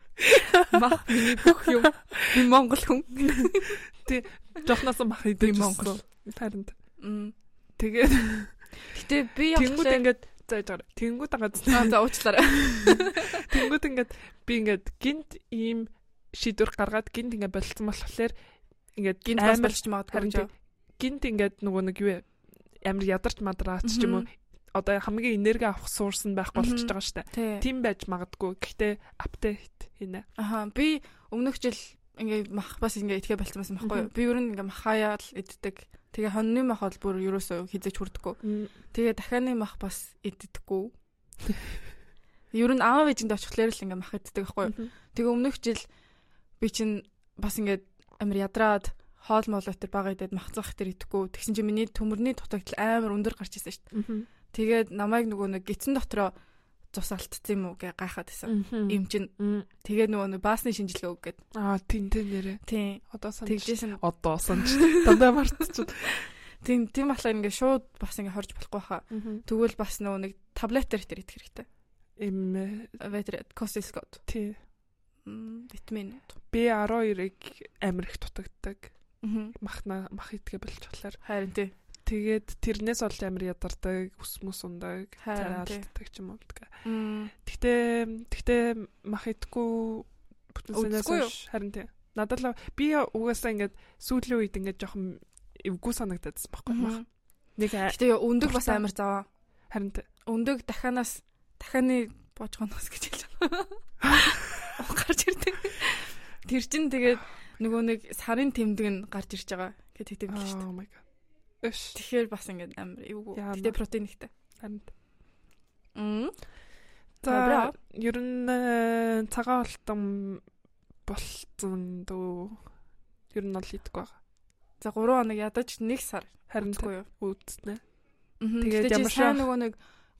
Мах миний бүх юм. Би Монгол хүн.
Жохноос мах
Би
идэж
Монгол.
Монгол. Харин т-
Мм.
тэгээд
Гэтэ би
тэнгууд
явахлаа.
ингээд зааж байгаа. Тэнгууд гац.
Аа за уучлаарай.
Тэнгууд ингээд би ингээд гинт ийм шийдвэр гаргаад гинт ингээд болцсон болохоор ингээд
Гинт бас
амар-
болч магадгүй
Харин
гэж.
тэг- гинт ингээд нөгөө нэг юу вэ? амар ядарч мадраач ч юм уу.
Мгм.
Одоо хамгийн энерги авах суурс нь байхгүй болчихж
Мгм.
байгаа штэ.
Тий.
Тим байж магадгүй. Гэхдээ апдейт хийнэ.
Аха би өмнөх жил ингээ мах бас ингээ итгэе болсон байсан байхгүй юу?
Мгм.
Би ер нь ингээ махаяал иддэг. Тэгээ хоньны мах бол бүр ерөөсөө хизэж хүрдэггүй. Тэгээ дахианы мах бас иддэггүй. Ер нь аав ээжинд очихлоор л ингээ мах иддэг байхгүй юу?
Мгм.
Тэгээ өмнөх жил би чинь бас ингээ амар ядраад хоол моол өтер бага идээд мах цах өтер идэхгүй. Тэгсэн чинь миний төмөрний дутагдал амар өндөр гарч ирсэн шүү дээ.
Мгм.
Тэгээд намайг нөгөө нэг гитсэн дотроо цус алдсан юм уу гэж гайхаад байсан.
Мгм.
Им чин
Мм.
тэгээ нөгөө нэг баасны шинжилгээ өг гэд.
Аа тин тин нэрэ.
Тийм.
Одоо санаж.
Тэгжсэн.
Одоо санаж. Дандаа мартчих.
Тийм тийм болохоор ингээ шууд бас ингээ хорж болохгүй хаа. Тэгвэл бас нөгөө нэг таблетэр дээр идэх хэрэгтэй.
Им э,
Ветер косилскот.
тий.
Витамин.
B12-ыг амар их дутагддаг.
Мгм.
Махна мах идгээ болчихлоор.
Харин тий.
Тэгээд тэрнээс бол амар ядардаг, ус мөс ундаг,
Харин тий.
царайлтдаг ч юм уу. гэдэг.
Мм.
Гэхдээ гэхдээ мах идгүй бүтэн санаас
Үздэггүй юу?
хойш харин тий. Надад л би угаасаа ингээд сүүлийн үед ингээд жоохон эвгүй санагдаадсан байхгүй мах.
Мгм.
Нэг а-
Гэтэ яа, өндөг бас
Дуртай.
амар заваа.
харин тий.
Өндөг дахианаас дахианы божгоноос гэж хэлж байна. Ух, Гарч ирдэг. Тэр чин тэгээд нөгөө нэг сарын тэмдэг нь гарч ирж байгаа гэдэг тийм л шүү дээ.
Oh my god. Эш.
Тэгэхээр бас ингээд амар эвгүй.
Яа,
Гэтэ протеин ихтэй.
Харин.
Мм.
За
Бра.
ер нь э, цагаан холтон болцсон дөө. Ер нь ол идэх байгаа.
За 3 хоног ядаж 1 сар
Харин
гэдэггүй юу?
үздэнэ. Тэгээд
Тэгээд ямар
ямар
сайн
шах-
нөгөө нэг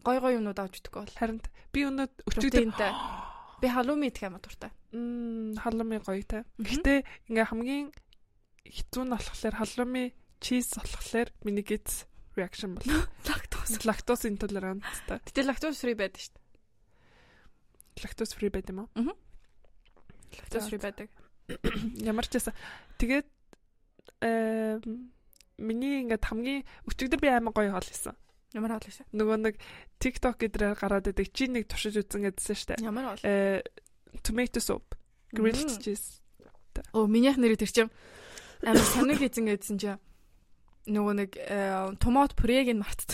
гой гой юмнууд авч идэхгүй бол
Харин би өнөө өчигдөр
протеинтэй. Би халуун идэх юм дуртай.
м, халуумын гоё та.
Мгм.
Гэхдээ ингээ хамгийн хэцүү нь болохоор халуумын чиз болохоор миний гиз reaction бол
Лактоз.
лактоз интолеранттай.
Гэтэл лактоз фри байдаг шүү дээ.
Лактоз фри байт юм уу?
Мгм.
Лактоз
Лактоз фри байдаг.
Ямар ч байсан. Тэгээд э миний ингээд хамгийн өчигдөр би аймаг гоё хоол исэн.
Ямар хаал вэ?
Нөгөө нэг TikTok гэдрээр гараад идэг чи нэг туршиж үзсэн гэдсэн штэ.
Ямар хаал?
Э tomato soup, grilled
Мм.
cheese.
Оо, минийх нэрээ тэр чим амар сонир хийцэн гэдсэн чи нөгөө нэг э, томат пюрег нь мартсан.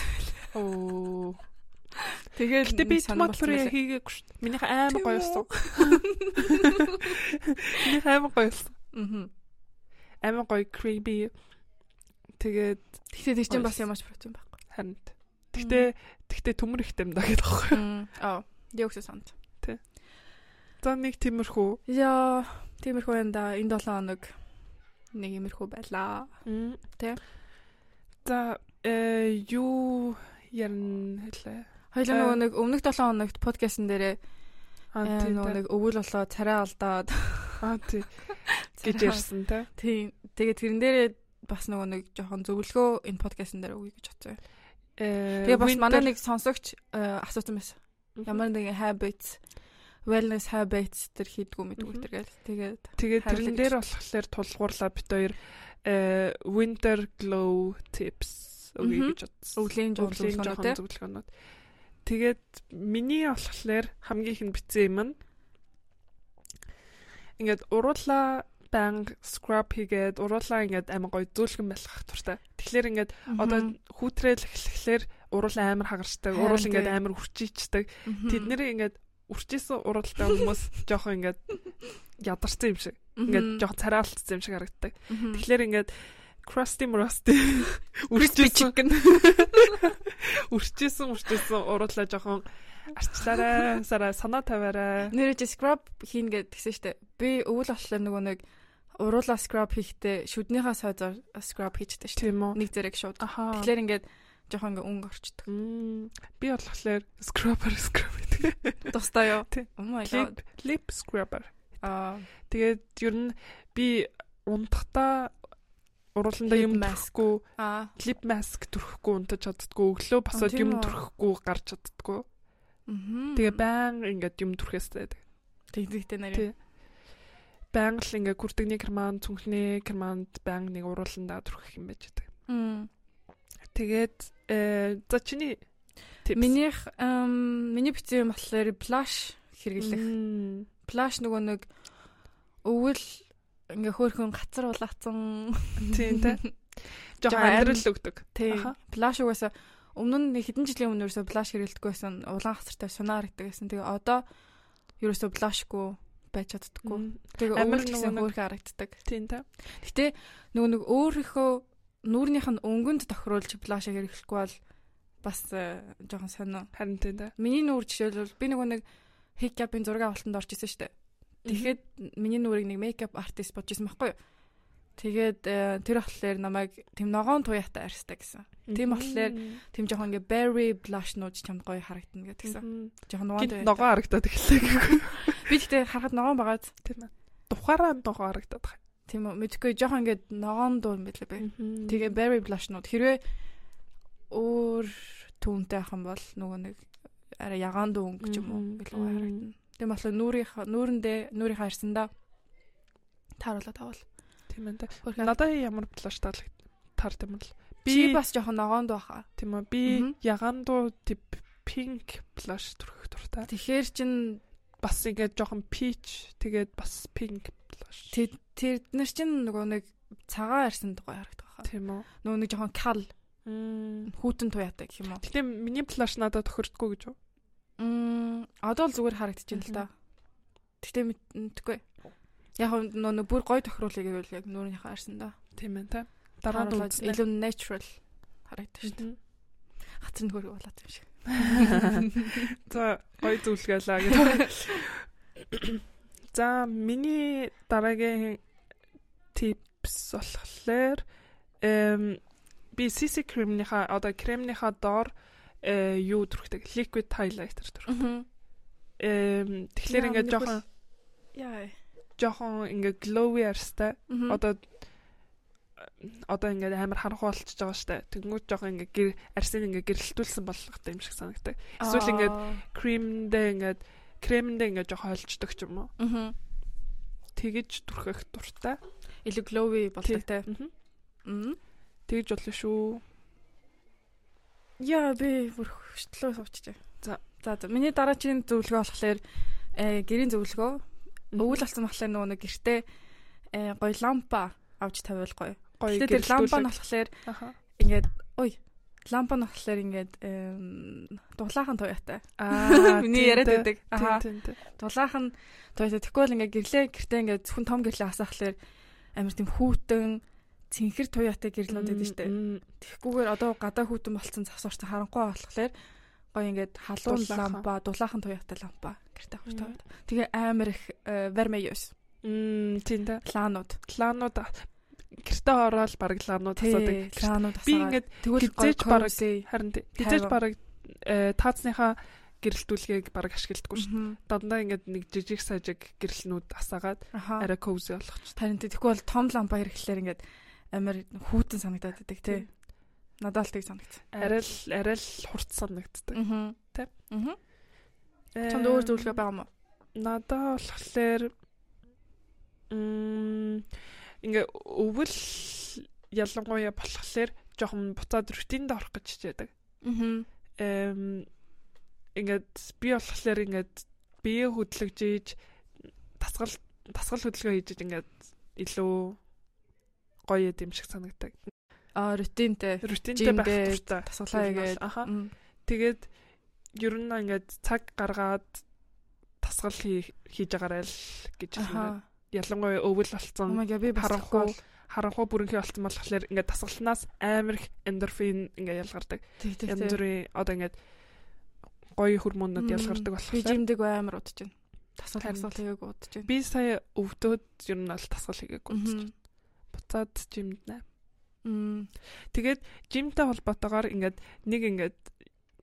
Оо.
Тэгээд
Гэтэ би
нэг сонир
томат
болсон
пюре
байлаа.
хийгээгүй штэ. Минийх аймаг
Тийм
гоё
үү?
болсон. Минийх аймаг гоё болсон.
Мгм.
Аймаг гоё creamy. Тэгээд
Тэгтээ тэр чинь бас
Ой.
ямарч протеин байхгүй.
харин Тэгтээ тэгтээ төмөр их тамда гэдэг аахгүй.
Мм. Аа, диоксид санд.
За нэг тиймэрхүү.
Яа, тиймэрхүү юм да. Энэ 7 хоног нэг иймэрхүү байлаа. Тэ.
За э юу ярина хэлээ.
Хоёлаа
Э.
нөгөө нэг өмнөх 7 хоногт подкастн дээрээ
Аа
э,
тийм
нөгөө
тэ.
нэг өвөл болоо царай алдаад
Аа тийм гэж
царай
ярьсан тэ.
Тийм. Тэгээд тэрэн дээрээ бас нөгөө нэг жоохон зөвлөгөө энэ подкастн дээр өгье гэж бодсон.
Э
Тэгээ бас
winter-
манай нэг сонсогч э, асуусан байсан.
Мгм.
Ямар нэгэн habits wellness habits төр хийдгүү мэдгүй
Мгм.
төр гэл. Тэгээд
тэгээд
хариулт
тэрэн дээр болохоор тулгуурлаа бит хоёр э winter glow tips
Мгм.
өгье гэж бодсон.
Өвлийн зөвлөгөөнүүд
жоохон
те.
зөвлөгөөнүүд. Тэгээд миний болохоор хамгийн ихэнд битсэн юм нь ингээд уруулаа банг scrub хийгээд уруулаа ингээд амар гоё зөөлгөн байлгах туртай. Тэгэхээр ингээд одоо хүүтрээл эхлэхлээр уруул амар хагарчдаг,
Харин
уруул ингээд
тий.
амар үрчичдэг. Тэд нэр ингээд үрчээсэн уралтай хүмүүс жоохон ингээд ядарсан юм шиг. Ингээд жоохон царайлтсан юм шиг харагддаг. Тэгэхээр ингээд crusty rusty үрчээсэн
гэн.
үрчээсэн үрчээсэн уруулаа жоохон арчлаарай, сараа санаа тавиарай.
Нэрэж scrub хийн гэд тэгсэн штэ. Би өвөл болохоор нөгөө нэг уруулаа scrub хийхдээ шүднийхээ сойзоор scrub хийжтэй штэ.
Тийм үү?
Нэг зэрэг шууд.
Ахаа.
Тэгэхээр ингээд жоохон ингээ өнгө орчдөг.
Мм, би болохоор scrubber scrub гэдэг.
Тустай юу?
Тий.
Oh my god.
Lip lip scrubber.
Аа.
Тэгээд ер нь би унтахтаа уралдаа
Lip
юм
mask.
мэсгүй,
Аа.
лип маск түрхэхгүй унтаж чаддггүй, өглөө босоод
тийм
юм
үү?
түрхэхгүй гарч чаддггүй.
Мгм.
Тэгээ баян ингээд юм түрхэстэй.
Тэгдэгтэй нарийн.
Тий. Баян л ингээд күрдэгний керман, цүнхний керманд баян нэг уралдаа түрхэх юм байж байгаа.
Мм.
Тэгээд э за чиний tips.
Минийх эм миний бичсэн юм болохоор blush хэрэглэх.
Мм.
Blush нөгөө нэг өвөл ингээ хөөхөн гацар улаацсан.
Тийм тэ.
Жоо
Жохон амьдрал өгдөг.
Тий.
Аха.
Blush угаасаа өмнө нь хэдэн жилийн өмнө ерөөсөө blush хэрэглэдэггүй байсан. Улаан хацартай сунаа харагддаг байсан. Тэгээ одоо ерөөсөө blushгүй байж чаддаггүй.
Мм.
Тэгээ
Амар
өвөл гэсэн
нөгөө нэг-
хөөхөн харагддаг.
Тийм тэ.
Гэтэ нөгөө нэг өөрийнхөө нүүрнийх нь өнгөнд тохируулж blush хэрэглэхгүй бол бас э, жоохон сонио.
Харин тийм тэ.
Миний нүүр жишээлбэл би нөгөө нэг хикапын зураг авалтанд орж исэн штэ. Тэгэхэд миний нүрийг нэг мейкап артист бодож исэн байхгүй юу? Тэгээд э, тэр болохоор намайг тэм ногоон туяатай арьсдаг гэсэн. Тийм болохоор Тэм жоохон ингээ berry blush нууж чамд гоё харагдана гэдэг гэсэн. Жоохон ногоон
Гинт
туяатай.
ногоо харагдаад эхэллээ гэхгүй.
Би гэхдээ харахад ногоон байгааз
Тийм ээ. Тухаараа ногоо харагдаад байна.
тийм үү мэдхгүй жоохон ингээ ногоон дуу юм байлээ бэ. Тэгээ berry blush нууд хэрвээ өөр түүнтэй ах юм бол нөгөө нэг арай ягаан дуу өнгө ч юм уу
Мгм.
илүү гоё харагдана. Тийм болохоор нүрийнхаа нүрэндээ нүрийнхаа харсандаа тааруулаад авал.
Тийм ээ. тэ.
Хөрхөн
Надад ямар плаш таалаг таар юм л.
Чи
Би
бас жоохон ногоон дуу хаа.
тийм үү. Би
Мгм.
ягандуу тип pink плаш төрөх дуртай.
Тэгэхээр чин
Бас ингээд жоохон peach тэгээд бас pink плаш.
тэд тэр нар чин нөгөө нэг цагаан арьсанд гоё харагддаг хаа.
Тийм үү.
Нөгөө нэг жоохон кал
Мм.
хүүтэн туяатай гэх юм уу.
Гэтэ миний плаш надад тохирдгүй гэж үү?
Мм одоо л зүгээр харагдаж байна л да. Гэтэ мэдгүй. Яг нь нөгөө нэг бүр гоё тохируулъя гэвэл яг нүрийнхаа арьсандаа.
Тийм ээ. тэ. Дараа нь
Тааруулаад
үзсэн.
илүү natural харагдаж шүү дээ.
Мгм.
Хацар нөхөр болоод юм шиг.
За гоё зүйлгэлээ гэдэг. За миний дараагийн tips болохоор эм би CC cream-ийнхаа одоо крем-ийнхаа доор э юу түрхдэг? Liquid highlighter түрх. Эм тэгэхээр
Яа,
ингээд
миний
жоохон
Яа.
жоохон ингээд glowy арстай.
Одоо
Одоо э, одоо ингээд амар харанхуй болчихж байгаа штэ. Тэнгүүд жоохон ингээд гэр арсын ингээд гэрэлтүүлсэн болгохтой юм шиг санагддаг. Эсвэл ингээд cream-дээ ингээд крем-дээ ингээд жоохон холждог ч юм уу. тэгж түрхэх дуртай.
илүү glowy болдог те.
Тий.
Мм.
Тэгж болно шүү.
Яа би бүр хөштлөө суучихжээ.
За.
За за миний дараагийн зөвлөгөө болохоор э, гэрийн зөвлөгөө. Өвөл болсон болохоор нөгөө нэг гэртээ э, гоё лампа авч тавиул гоё.
гоё
Гэтэ тэр лампа нь болохоор
аха.
ингээд ой лампа нь болохоор ингээд эм, дулаахан туяатай.
Аа,
Миний яриад байдаг.
Аа.
Аха. Дулаах нь туяа тэгэхгүй л ингээ гэрлээ гэртээ ингээ зөвхөн том гэрлээ асаахлаар амар тийм хүүтэн цэнхэр туяатай гэрлүүд байдаг штэ. Тэгэхгүйгээр одоо гадаа хүүтэн болцсон завсарсан харанхуй болохлээр гоё ингээд халуун
Дулаахан.
лампа, дулаахан туяатай лампа гэртээ авч
Мм.
тавиад. Тэгээ амар их э, вермеюс
Мм, тийм дээ.
лаанууд.
Лаанууд а- гэртээ ороод баг лаанууд
Тий,
асуудаг.
лаанууд
Би
асаагаад.
ингээд
тэгвэл
хизээж
гоё
бараг-
корсей.
харин тий. Тэжээж
Тайван.
баг э, таацныхаа гэрэлтүүлгээг баг ашигладаггүй шүү.
Мгм.
Дандаа ингээд нэг жижиг сажиг гэрэлнүүд асаагаад
Аха.
арай cozy болгоч.
Харин тэ- тэгэхгүй бол том лампа хэрэглэхээр ингээд амар хүүтэн санагдаад байдаг тий. Надад л тийг санагдсан.
Арай л арай л хурц санагддаг. Э,
Аа.
Тэ.
Аа. Чамд өөр зөвлөгөө байгаа мó?
Надаа болохоор м ингээ өвөл ялангуяа болохоор жоохон буцаад рутинд орох гэж хичээдэг.
Аа.
Эм ингээд би болохоор ингээд бие хөдлөж ийж тасгал тасгал хөдөлгөөн хийж ийж ингээд илүү гоё юм шиг санагдаг.
Аа, рутинтэй.
Рутинтэй байх
Жимгээд,
туфта.
тасгалаа хийгээд.
Аха.
Мм.
Тэгээд ер нь ингээд цаг гаргаад тасгал хий- хийж агараа л гэж хэлмээр.
Аха.
Ялангуяа өвөл
Oh
болсон
my god, би
харанхуй
барахгүй.
харанхуй бүрэнхий болсон болохоор ингээд тасгалнаас амар их эндорфин ингээд ялгардаг.
Тэг тэг
Янз
тэг.
бүрийн одоо ингээд гоё хормонууд
Мм.
ялгардаг
Би
болохоор
жимдэг амар удаж байна. Тасгал
Харин.
тасгал хийгээг удаж байна.
би сая өвдөд ер нь бол тасгал хийгээгүй үзчих.
Мгм.
Буцаад жимднэ.
Мм.
Тэгээд жимтэй холбоотойгоор ингээд нэг ингээд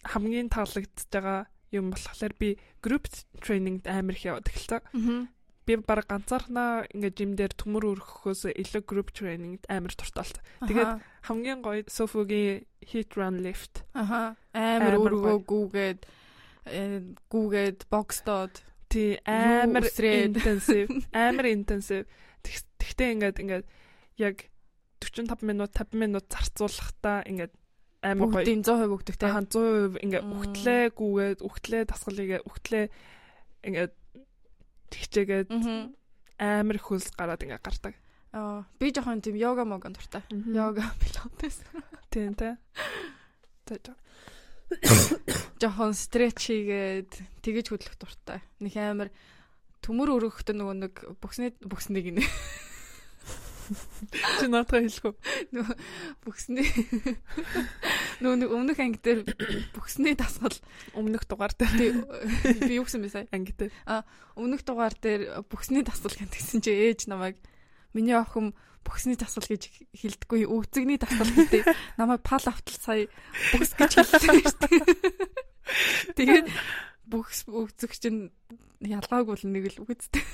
хамгийн таалагдж байгаа юм болохоор би group training амар их яваад эхэлсэн.
Мгм.
Би баг ганцаархнаа ингээд жимдэр төмөр өргөхөөс илүү group training амар турталт. Тэгээд
Аха.
Хамгийн гоё Sofu-гийн hit run lift.
Аха. Амар
Амар гоё.
өргөө гүүгээд э, гүүгээд бокстод.
Тий амар
үсрээд.
intensive, амар intensive. Тэгс- Тэгтээ ингээд ингээд яг 45 минут, 50 минут зарцуулахдаа ингээд амар гоё
Бүгдийн 100% өгдөгтэй.
Тахан 100% ингээ
Мм.
өгтлээ гүгээд өгтлээ тасгалыгээ өгтлээ ингээ тэгчээгээд
Мгм.
амар их хөлс гараад ингээ гардаг.
Аа, би жоохон тийм йога могон дуртай. Йога пилатес.
тийм тий. Тэ, тэ.
Жоохон стретч хийгээд тэгэж хөдлөх дуртай. Нэг амар төмөр өргөхтө нөгөө нэг бүксний бүкснийг нэ.
Чи наатаа хэлэхгүй.
Нөгөө бүксний нөгөө нэг өмнөх анги дээр бүксний тасгал
Өмнөх дугаар дээр
тий би юу гэсэн бэ сая?
анги дээр
Өмнөх дугаар дээр бүксний тасгал гэсэн чи ээж намайг миний охин бүксний тасгал гэж хэлдэггүй өвзөгний тасгал гэдэг намайг пал автал сая бүкс гэж хэлсэн шүү дээ. Тэгээд бүкс өвзөг чинь ялгаагүй л нэг л үгтэй.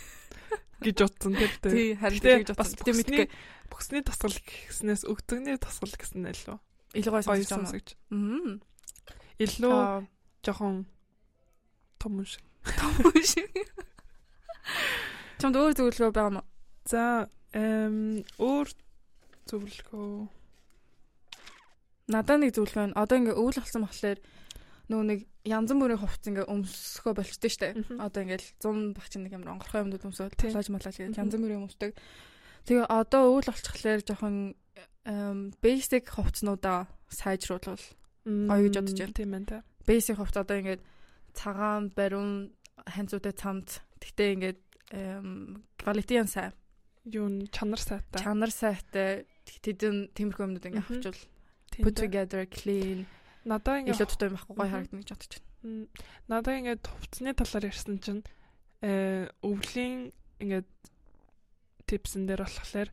гэж утсан тэр тий.
Тий харин тэгж
Гэтэ
бодсон.
бас
Гэтэ мэдгүй
бүхний бүхний тасгал гэснээс өгдөгний тасгал гэсэн айлуу.
илүү гоё
Гоё
сонсож байна.
сонсогч.
Мм.
Илүү
Тоо
жоохон том юм шиг.
шиг. Чамд өөр зөвлөгөө байгаа юм уу?
За эм өөр зөвлөгөө
Надаа нэг зөвлөгөө нь одоо ингээ өвөл болсон болохоор нөгөө нэг янз бүрийн хувцас ингээ өмсөхөө болчтой штэ.
Мгм.
Одоо ингээл 100 багч нэг амар онгорхой юмнууд өмсөөл
Тийм.
талааж малааж гэдэг
Мгм.
янз бүрийн юм өмсдөг. Тэгээ одоо өвөл болчихлоор жоохон эм, basic хувцснуудаа сайжруулвал Гоё гэж бодож байна.
Тийм байна та.
basic хувц одоо ингээд цагаан, баруун, ханцуутай цамц. Гэтэ ингээд эм, quality нь сайн,
юу н чанар сайтай.
чанар сайтай тэдэн темирхүү юмнууд ингээ
Мгм.
авчвал
Тийм
put
дээ.
together clean
Надаа
илүү
ингээд
дутуу юм байхгүй гоё
Мгм.
харагдана гэж бодож байна.
м, надаа ингээд хувцсны талаар ярьсан чинь э өвлийн ингээд типсэн дээр болохоор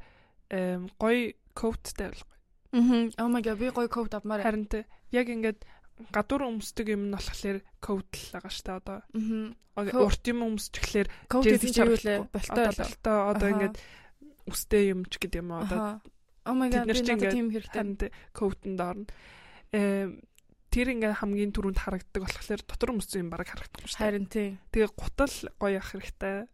э гоё коуттай болох.
Мм. Oh my god би гоё code авмаар.
Харин тэ яг ингээд гадуур өмсдөг юм нь болохоор коут л байгаа штэ одоо.
Мм.
Ог-
Коо-
Урт юм өмсчихлээр
Code
жинсэг
гэж юу вэ?
шаардлагагүй.
Болтой
Одоо
болоо.
болтой одоо
Аха.
ингээд үстэй юм ч гэдэг юм одоо
Аха. Oh my god
Тэд
би
нар чинь
надад
ингээд
тийм хэрэгтэй.
танд коутэнд орно. Э тэр ингээд хамгийн түрүүнд харагддаг болохоор дотор өмссөн юм баг харагдахгүй штэ.
Харин тийм.
Тэгээ гутал гоё ах хэрэгтэй.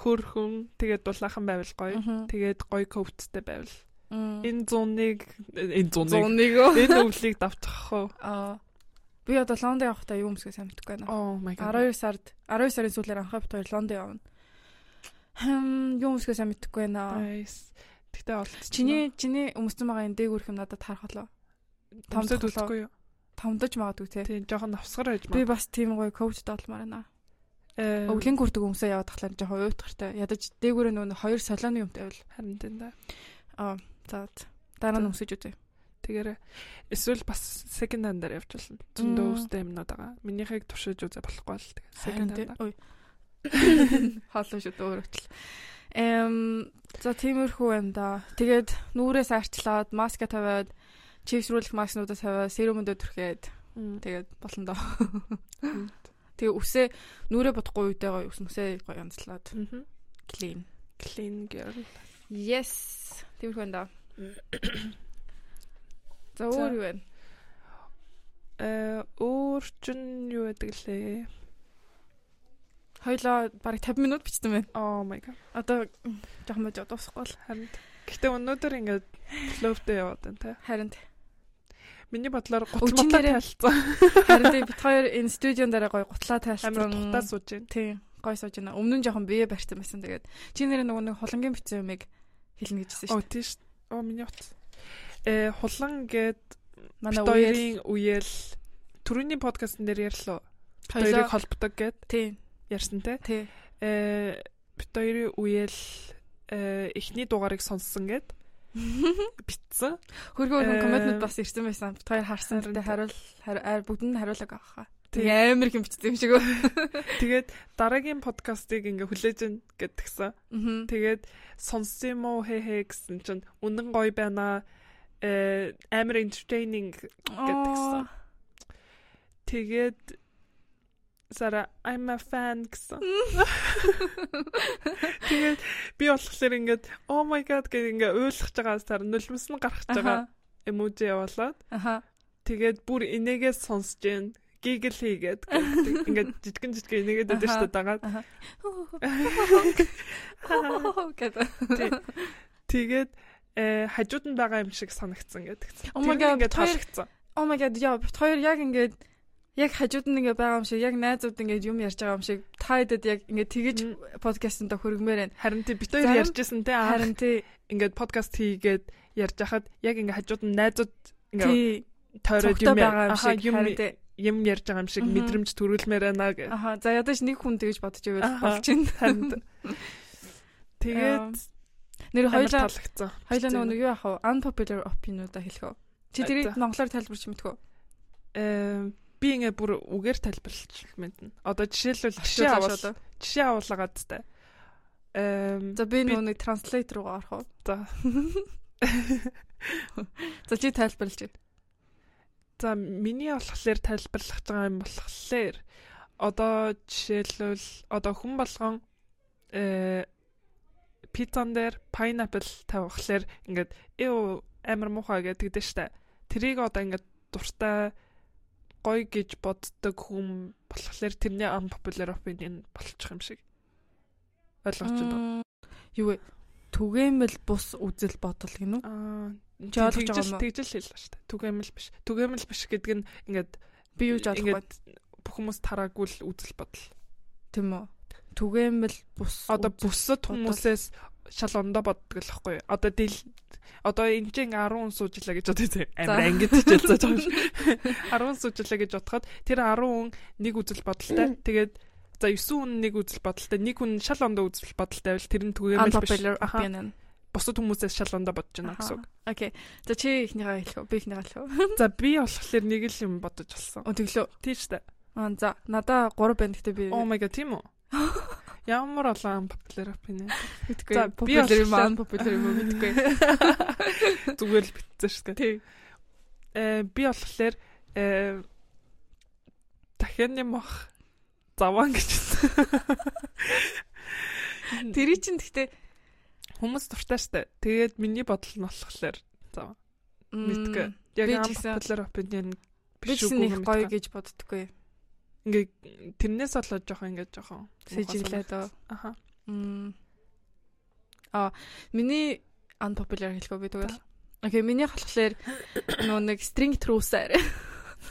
Хөөрхөн, тэгээ дулаахан байвал гоё.
Мгм.
Тэгээд гоё коуттэй байвал.
Мм.
Энэ 100-ыг энэ 100-ыг
Зууныг өө.
энэ өвлийг давчих уу?
Аа. Би одоо Лондон явахдаа юу өмсгөө сайн мэдгүй байна.
Oh my god.
12 сард 12 сарын сүүлээр анхаа бит хоёр Лондон явна. Хм юу өмсгөө сайн мэдгүй байна.
Nice. Тэгтээ олцсон.
Чиний чиний өмссөн байгаа энэ дээгүүрх юм надад харах болоо. том
томсод
тоглоо.
үлдэхгүй юу?
Томдож магадгүй те.
Тийм жоохон навсгар байж
Би
магад.
бас тийм гоё коуч доотлмаар байна.
Э,
Өвлийн гүрдэг өмсөө яваад тахлаар жоохон уйтгартай. Ядаж дээгүүрээ нөгөө хоёр солооны юм тавил.
харин тийм да.
За дараа нь
За.
өмсөж үзье.
Тэгээрээ эсвэл бас second hand дээр явуулна. Зөндөө
Мм.
өвстэй юмнууд байгаа. Минийхийг туршиж үзээ болохгүй л тэгээ. Second
Харин
hand.
тий.
дээр.
Ой. Хаалаа шүү дээ өөрөчл. Эм за тиймэрхүү юм да. Тэгээд нүрээс арчлаад, маска тавиад, чипс рүүлэх маскнуудаа тавиад, серумөндөө түрхээд
Мм.
тэгээд болно доо. Тэгээ үсээ нүрээ бодохгүй үедээ гоё үснэсээ гоё янзлаад
Мгм.
clean.
Clean girl.
Yes. Тиймэрхүү юм да. За өөр юу вэ?
Э, өөр чинь юу байдаг лээ?
Хоёлоо бараг 50 минут бичсэн байна.
Oh my god.
Одоо м, жоохон бож дуусахгүй л.
Харин Гэтэ өнөөдөр ингээд клубтэй яваад байна те.
Харин т-
Миний бодлоор
Өчигдөр
гутлаа тайлцсан.
харин тийм бид хоёр энэ студион дээр гоё гутлаа тайлсан.
Амар тухтаа сууж байна.
Тийм. Гоё сууж байна. Өмнө нь жоохон бие барьсан байсан. Тэгээд чи нэр нөгөө нэг хулангийн бицэн юмыг хэлнэ гэж хэлсэн
Оо
шүү
тийш. Оо миний утас. Э хулан гээд
дээ.
бид
Манай үеийн
хоёрын үеэл түрүүний подкастн дээр ярьлаа. Бид
хоёрыг
Хоёрыг холбдог гээд
тийм
ярьсан те.
тийм
Э бид хоёрын үеэл э эхний дугаарыг сонссон гээд битсэн.
хөргөө
Э,
хөргөн комментнууд бас ирсэн байсан. Бид хоёр харсан.
харин
Тэ хариул хари- аа, бүгдэнд нь хариулаг авах.
Тийм.
Тэгээ амар хэм бичсэн юм шиг өө.
Тэгээд дараагийн подкастыг ингээ хүлээж ин гэдгсэн.
Аа.
Тэгээд сонссон юм уу хэ хэ гэсэн чинь үнэн гоё байна. Э амар entertaining гэдгсэн. Тэгээд Сара I'm a fan гэсэн. Тэгээд би болохоор ингээд oh my god гэж ингээ ойлгож байгаа сар нулимс нь гарах гэж байгаа эможи явуулаад
Аха.
тэгээд бүр энийгээ сонсож гин гигл хийгээд гэдэг. ингээд жижигэн жижигэн энийгээд өгдөө
Аха.
шүү дагаад.
Гэдэг.
Тэгээд э хажууд нь байгаа юм шиг санагдсан гэдэг.
Oh my god,
ингээд
бид хоёр-
таалагдсан.
Oh my god, яа, бит хоёр яг ингээд яг хажууд нь ингээ байгаа юм шиг, яг найзууд ингээд юм ярьж байгаа юм шиг та хэдэд яг ингээ тэгэж
Мм.
подкастнда хөргмээр байна.
Харин тий бид
Зарим-
хоёр ярьжсэн те аа
Харин тий.
ингээд подкаст хийгээд ярьж хахад яг ингээ хажууд нь найзууд ингээ
Тий.
тойроод
Цогтой
юм яа-
байгаа юм
аха,
шиг.
юм
Харин тий.
юм ярьж байгаа юм шиг
Мгм.
мэдрэмж төрүүлмээр байна гэх.
Аха, за ядаж нэг хүн тэгэж бодож ивэл
Аха.
болж байна.
Танд. Тэгээд
Нэр
амар
хоёлаа
таалагдсан.
хоёлаа нөгөө нэг юу яах вэ? Unpopular opinion-уудаа хэлэх үү? Чи
За,
тэрийг
за.
монголоор тайлбарч мэдэх үү?
Эм, би ингээ бүр үгээр тайлбарлаж мэднэ. Одоо жишээлбэл
Ашиг
жишээ
аваад.
авал жишээ авуулгаад та. Эм
За би нөгөө нэг транслейт руугаа орох уу?
За.
За чи тайлбарлаж.
за миний болохоор тайлбарлах гэж байгаа юм болохоор одоо жишээлбэл одоо хүн болгон э пиццан дээр pineapple тавихлаар ингээд ээ амар муухай гэдэг штэ. Тэрийг одоо ингээд дуртай гоё гэж боддог хүн болохоор тэрний unpopular opinion болчих юм шиг. Ойлгож байна.
Мм, Юу вэ? Түгээмэл бус үзэл бодол гинүү.
Аа
Чи ойлгож байгаа юм уу?
Тэгжэл хэлсэн штэ. Түгээмэл биш. Түгээмэл биш гэдэг нь ингээд
Би юу ч ойлгохгүй
Ингээд бүх хүмүүс тараагүй л үзэл бодол.
тийм үү? Түгээмэл бус.
Одоо
үзэл-
бүсэд
бодол.
хүмүүсээс шал ондоо боддог л байхгүй юу? Одоо дил одоо энэ чинь 10 суужилаа гэж бодъё зэ. Амар
За.
ангид хичээлцэж байгаа юм шиг. 10 суужилаа гэж бодоход тэр 10 хүн нэг үзэл бодолтой. Тэгээд за 9 хүн нэг үзэл бодолтой, нэг хүн шал ондоо үзэл бодолтой байвал тэр нь түгээмэл биш.
unpopular
Аха.
opinion.
Бусад хүмүүсээс шал ондоо бодож байна гэсэн үг.
Окей. За чи ихнийгаа хэлэх үү? Би ихнийгаа хэлэх үү?
За би болохоор нэг л юм бодож олсон.
Оо тэглөө.
Тийм шүү дээ.
Аа за надаа 3 байна гэхдээ би
Oh my god тийм үү? Ямар олон popular opinion.
мэдгүй.
за,
За
би
popular юм
болохоор-
аа popular юм уу мэдгүй.
Зүгээр л битсэн шүү дээ.
Тийм.
Э, би болохоор э дахианы мох заван гэж хэлсэн.
Тэрий чин гэхдээ
Хүмүүс дуртай штэ. Тэгээд миний бодол нь болохоор заван.
мм,
Мэдгүй.
би
Яг ам
ч гэсэн-
popular opinion
Би
биш
ч
үгүй
нэг
юм
гоё
мэдгүй.
гэж боддоггүй.
Ингээ тэрнээс болоод жоохон ингээ жоохон
Сэжиглээд оо.
Аха.
Мм. А миний unpopular хэлэхгүй би тэгвэл. Окей, миний болохоор нөгөө нэг string truce.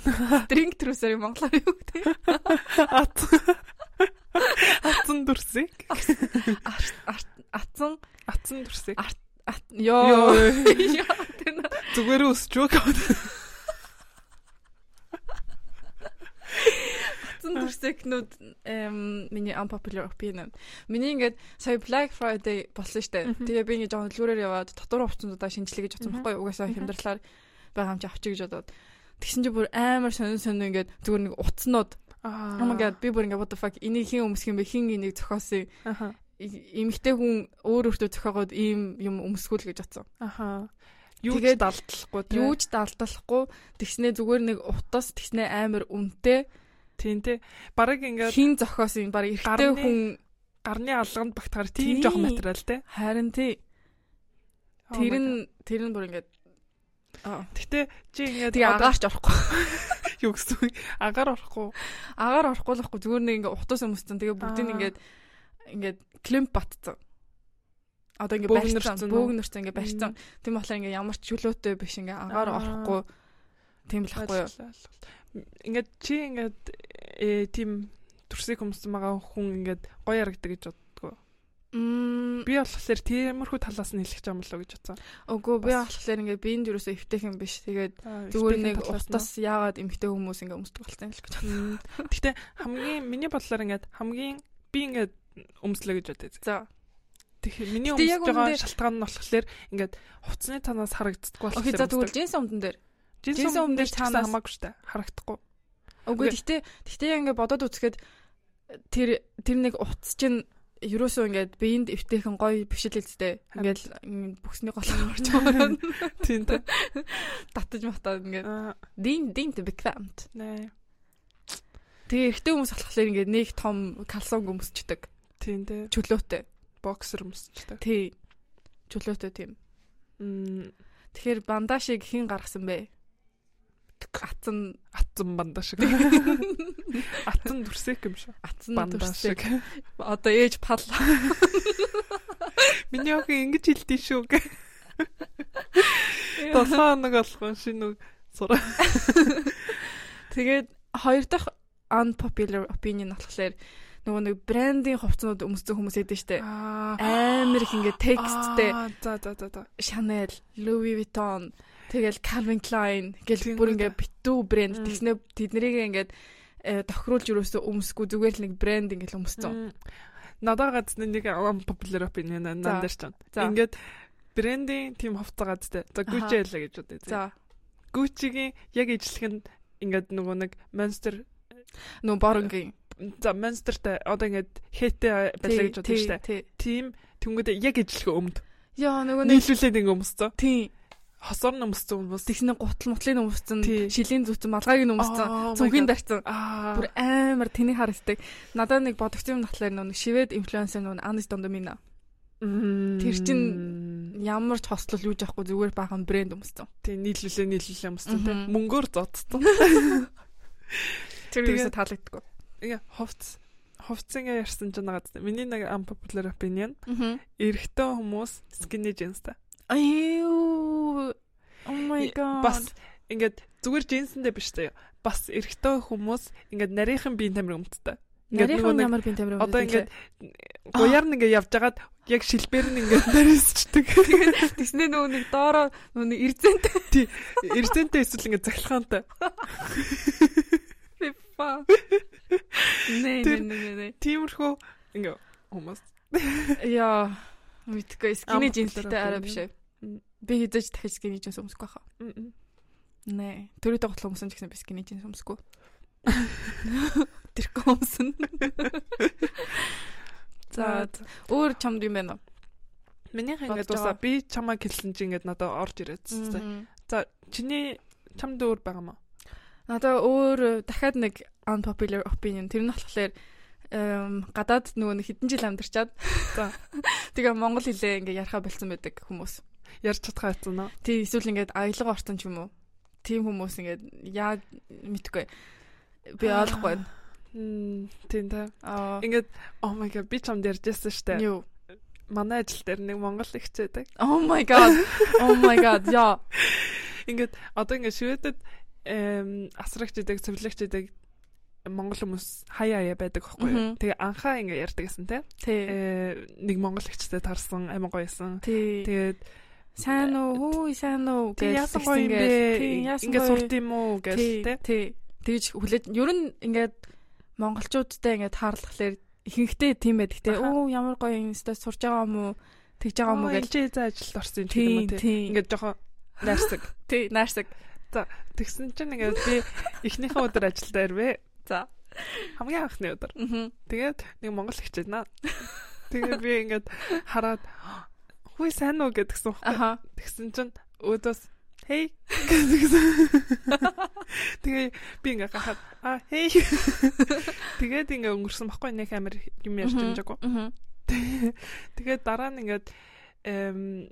String truce-ийг монголоор юу гэдэг вэ?
Атсан. Атсан дүрсийг.
Атсан
Атсан дүрсийг.
ат ёо.
Йоо.
Яа, тэн.
Зүгээр өсч үг.
Атсан төрсөкнүүд эм миний unpopular opinion. Миний ингээд сая Black Friday болсон штэ.
Мгм.
Тэгээ би ингээд жоон дэлгүүрээр яваад дотор хувцсуудаа шинжлэх гэж бодсон
Мгм.
байхгүй юу? Угаасаа
Мгм.
хямдралаар байгаа юм чи авчиг гэж бодоод. Тэгсэн чи бүр амар сонин сонин ингээд зүгээр нэг утснууд
Аа.
Oh my god би бүр ингээ what the fuck энийг хин өмсөх юм бэ хин энийг зохиосон юм?
Аха.
И- эмэгтэй хүн өөр өөртөө зохиогоод ийм юм өмсгүүл гэж бодсон.
Аха. Юу ч
Тэгээд-
далдлахгүй те.
Юу ч далдлахгүй тэгснэ зүгээр нэг утас тэгснэ амар үнэтэй
Тийм тий. Бараг ингээд
хин зохиосон юм баг эрэгтэй
Гарны-
хүн
гарны алганд багтахаар
Тий.
тийм жоох материал те.
харин тий
Oh my
тэр нь
God.
тэр нь бүр ингээд аа
Гэтэ чи ингээд
тэгээ
одоо
агаарч орохгүй
юу гэсэн үг? Агаар орохгүй.
агаар орохгүй л ихгүй зүгээр нэг ингээ утас өмссөн тэгээ бүгд нь
Аа.
ингээд ингээд клемп батцсан одоо ингээ
Бөөгнөр
барьцсан
чинь
бөөгнөрсөн
үү?
ингээ барьцсан тийм болохоор ингээ ямар ч чөлөөтэй биш ингээ ангаар
Аа.
орохгүй тийм л ахгүй юу
Ойлголоо, ойлголоо. Ингээд чи ингээд э, тийм төрсийг хүмсэн байгаа хүн ингээд гоё харагдаг гэж боддгоо.
Мм,
Би болохоор тиймэрхүү талаас нь хэлэх юм болоо гэж бодсон.
Үгүй би
Бас-
болохоор ингээ би энэ юусоо эвтэх юм биш. Тэгээд зүгээр нэг утас яагаад эмхтэй хүмүүс ингээ өмсдөг болсон юм л гэж байна.
Мм. Гэхдээ хамгийн миний бодлоор ингээд хамгийн би ингээд өмслөө гэж бодъё.
За.
Тэгэхээр миний
Гэтэ яг
өмсөж байгаа
үүндээ-
шалтгаан нь болохоор ингээд хувцсны танаас харагддаггүй
Окей за тэгвэл джинс өмдөн дээр.
жинс
жинсэн
өмдөр
өмнөд
танаас
танаас-
хамаагүй шүү дээ. Харагдахгүй.
Үгүй
Үгүй.
гэхдээ гэхдээ ингээ бодоод үзэхэд тэр тэр нэг утас чинь Юурээс ингээд биеинд эвтэйхэн гоё биш л үсттэй. Ингээд л, м, бүхсний гол орж байгаа. нь
Тийм дээ.
Татж матаад ингээд
Аа,
дин динт бэквамт.
нэ.
Тэгээ эрэгтэй хүмүүс болохоор ингээд нэг том калсон өмсчдэг.
Тийм дээ.
Чөлөөтэй.
Боксер өмсчтэй.
Тий. Чөлөөтэй тийм.
Мм.
Тэгэхээр бандашиг хэн гаргасан бэ? Атсан
Атсан банда шиг. Атсан дүрсэх юм шиг.
атсан
Банда
дүрсэг.
шиг.
Одоо ээж пал.
Миний охин ингэж хэлдэй шүү гэ. 7 хоног болгон шинэ үг сураа.
Тэгээд хоёр дахь unpopular opinion болохоор нөгөө нэг брендийн хувцсууд өмссөн хүмүүс ядэн
Э,
штэ.
Аа.
Амар их ингээ тексттэй
Аа, За за за за.
Chanel, Louis Vuitton, тэгэл Calvin Klein гэл
Тэнгүүд.
бүр ингээ битүү брэнд
Мм.
тэгснэ тэднийг ингээд э, тохируулж юусоо өмсөхгүй зүгээр л нэг брэнд ингээл өмссөн.
Мм. Надад гац нэг ам популяр opinion
За,
нандер чинь.
за.
Ингээд брендийн тийм хувцас газтай. За Gucci ялла гэж бодъё. За.
За
Gucci-гийн яг ижлэхэнд ингээд нөгөө нэг Monster
нөгөө боронгийн
за Monster-тай одоо ингээд хэтэ байлаа гэж бодсон шүү дээ.
тий.
Тийм тэнгүүдээ яг ижлэхээ өмд.
Яа нөгөө нэг
Нийлүүлээд ингэ өмсцөө.
тий.
Хосоор нь өмсцөө хүмүүс.
Тэгснэ гутал мутлын өмссөн,
Тий.
шилийн зүтэн, малгайг нь өмссөн,
Oh my
цүнхийн
God.
дарцсан.
Аа.
бүр амар тэнийг харагддаг. Надад нэг бодогч юм батлаар нүг шивэд инфлюенсер нүг Анис Дондомина.
Тэр
Тэр чинь- Ямар ч хослол юуж авахгүй зүгээр баахан брэнд өмссөн.
тий нийлүүлээ нийлүүлээ өмсцөө тий.
Мгм.
Мөнгөөр зодцсон.
Тэр
Тэгээ-
юусоо таалагддаг.
Ингээ хувц хувцсангаа ярьсан ч нагаад. Миний нэг unpopular opinion
Аа.
эрэгтэй хүмүүс skinny jeans-тай.
Аюу. Oh my god.
бас ингээд зүгээр джинсэндээ биш тээ бас эрэгтэй хүмүүс ингээд нарийнхан биеийн тамир өмдтэй ингээд нөгөө
нарийнхан
нэг-
ямар бин тамир
одоо
өмссөн.
ингээд гуяар нь ингээд явжгаад яг шилбээр нь ингээд нарийнсчдэг
тэгснэ нөгөө нэг доороо нөгөө нэг ирзэнтэй
эрдэнтэй эсвэл ингээд захилгаантай
фа. Нэ нэ
Тэр-
нэ нэ.
тиймэрхүү ингээд хүмүүс
Яа. Мэдгүй скини
Амбар
жинстэй
дээр
арай
байна.
биш. ээ.
Мм.
Би хэзээ ч дахиж скини жинс өмсөхгүй хаа.
Мм, мм.
Нэ. Төрөйтэй готлоо өмсөн ч гэсэн би скини жинс өмсөхгүй. Тэрхүү өмсөн. За өөр чамд юм байна
миний
Бодож
ингээд
байгаа.
дуусаа би чамаа гэлсэн чи ингээд надад орж ирээд
уу?
цэцтэй за чиний чамд өөр байгаа маа
Надаа өөр э, дахиад нэг unpopular opinion тэр нь болохоор эм гадаад нөгөө нэг хэдэн жил амьдарчаад
За.
тэгээ монгол хэлээ ингээ ярахаа болцсон байдаг хүмүүс.
ярьж чадхаа хэцэн аа
Тий эсвэл ингээд аялал орсон ч юм уу. Тим хүмүүс ингээд яа мэдгүй. Би
Аа.
ойлгохгүй. байна.
Мм, тийм та
Аа.
ингээд oh my god би чамд ярьжсэн штэ
Юу.
манай ажил дээр нэг монгол ихчээдэг
Oh my god. Oh my god. Яа.
Ингээд одоо ингээд шивэдэд эм, асрагч идэг, цэвэрлэгч идэг монгол хүмүүс хаяа хаяа байдаг байхгүй юу?
Мгм.
Тэгээ анхаа ингээд ярьдаг гэсэн те.
Тий.
Э, Нэг монгол ихчтэй тарсан, амин гоёсэн.
Тий.
Тэгээд
Сайн уу? Хүү сайн уу?
Э, тий
гэж
яасан гоё
тэгсэн
юм
гээд. Тий,
бэ?
яасан
Ингээд
гоё?
сурд юм уу гэж те.
Тий. тий. Тэгж хүлээж ер нь ингээд монголчуудтай ингээд таарлахлаар ихэнхдээ тийм байдаг те.
Аха.
Оо ямар гоё инстас сурж байгаа юм уу? Тэгж байгаа юм уу
Амаа
гэж.
ээлжээ за ажилд орсон юм ч гэдэг юм
Тийм
уу те.
тийм.
Ингээд жоохон найрсаг.
Тий, наашдаг.
Тэгсэн чинь ингээд би эхнийхэн өдөр ажилдаа ирвэ.
За.
Хамгийн анхны өдөр.
Аа.
Тэгээд нэг монгол ихчээд наа. Тэгээд би ингээд хараад хүй сайн уу гэдгсэн юм.
Аха.
Тэгсэн чинь өөдөөс хей гэсэн. Тэгээ би ингээ гахаад а хей. Тэгээд ингээ өнгөрсөн баггүй нэг амир юм ярьж
Мгм,
юмжаагүй.
мгм.
Тэгээд дараа нь ингээд эм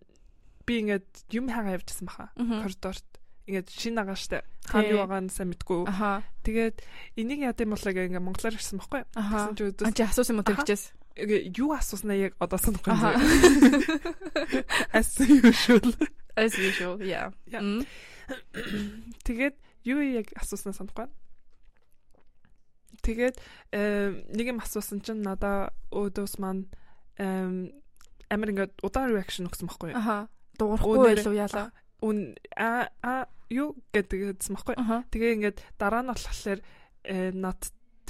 би ингээд юм хагаа явьжсэн баха.
Мгм.
Коридорт ингээд шин агааштай хаан юу
Тий.
байгаа нь сайн мэдгүй.
Аха.
Тэгээд энийг яа гэм болоо ингээ монголоор ирсэн баггүй.
Аха.
Тэгсэн чи өөдөөс
Анчи асуусан юм уу
Аха.
тэгчээс?
Окей, юу асууснаа яг одоо санахгүй юм
Аха.
зэрэг. As usual.
As usual. Yeah.
Yeah.
Мм.
Тэгээд юу яг асууснаа санахгүй байна. Тэгээд эм, нэг юм асуусан чинь надаа өөдөөс маань эм, амар ингээд удаан reaction өгсөн байхгүй юу?
Аха.
Өнөөдөр-
Дуурахгүй байлуу яалаа.
Үн а а юу гэдэг хэлсэн байхгүй юу?
Аха.
Тэгээ ингээд дараа нь болохоор э, над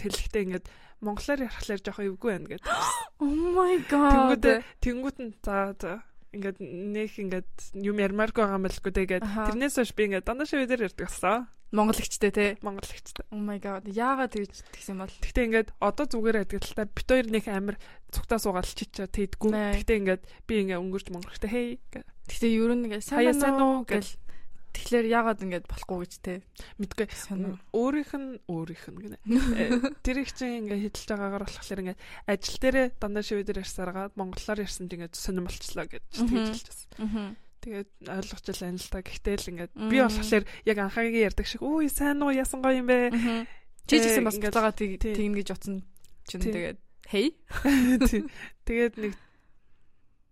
тэлэхдээ ингээд монголоор ярихлаар жоох эвгүй байна гэдэг.
Oh my god.
Тэнгүүд тэнгүүд нь за за ингээд нөх ингээд юм ярмааргүй байгаа юм байлгүй тэгээд
Аха.
тэрнээс хойш би ингээд дандаа шивэ дээр ярьдаг болсон.
Монголчтэй те.
Монголчтой.
Oh my god. Яагаад тэгж тэгсэн бол?
Гэхдээ ингээд одоо зүгээр адилтай бит хоёр нэг амар цугтаа суугаад л чичээ тэйдгүү.
Нэ.
Гэхдээ ингээд би ингээ өнгөрч монголчтой хей гэ-
Гэтэ ер нь ингээ
хаяа
сайн
сайн
байна уу
уу гэж
гэл. Тэгэхээр яагаад ингээд болохгүй гэж те.
мэдгүй
Сонио.
өөрийнх нь өөрийнх нь гэнэ. Э, Тэр их чинь ингээ хідэлж байгаагаар болохоор ингээ ажил дээрээ дандаа шивэ дээр ярьсараад монголоор ярьсан чинь ингээ сонирм болчлоо гэж
Мгм.
тэгжилж байсан.
Аха.
Тэгээд ойлгож л анил та. Гэхдээ л ингээ би
Мм.
болохоор яг анхаагийн ярьдаг шиг үгүй сайн уу ясан гоё юм бэ.
Аха. Чи ч гэсэн бас
Ингээд-
буцаага тэг
Тий.
тэгнэ гэж утсан чинь
Тий.
тэгээд hey
Тий. Тэгээд нэг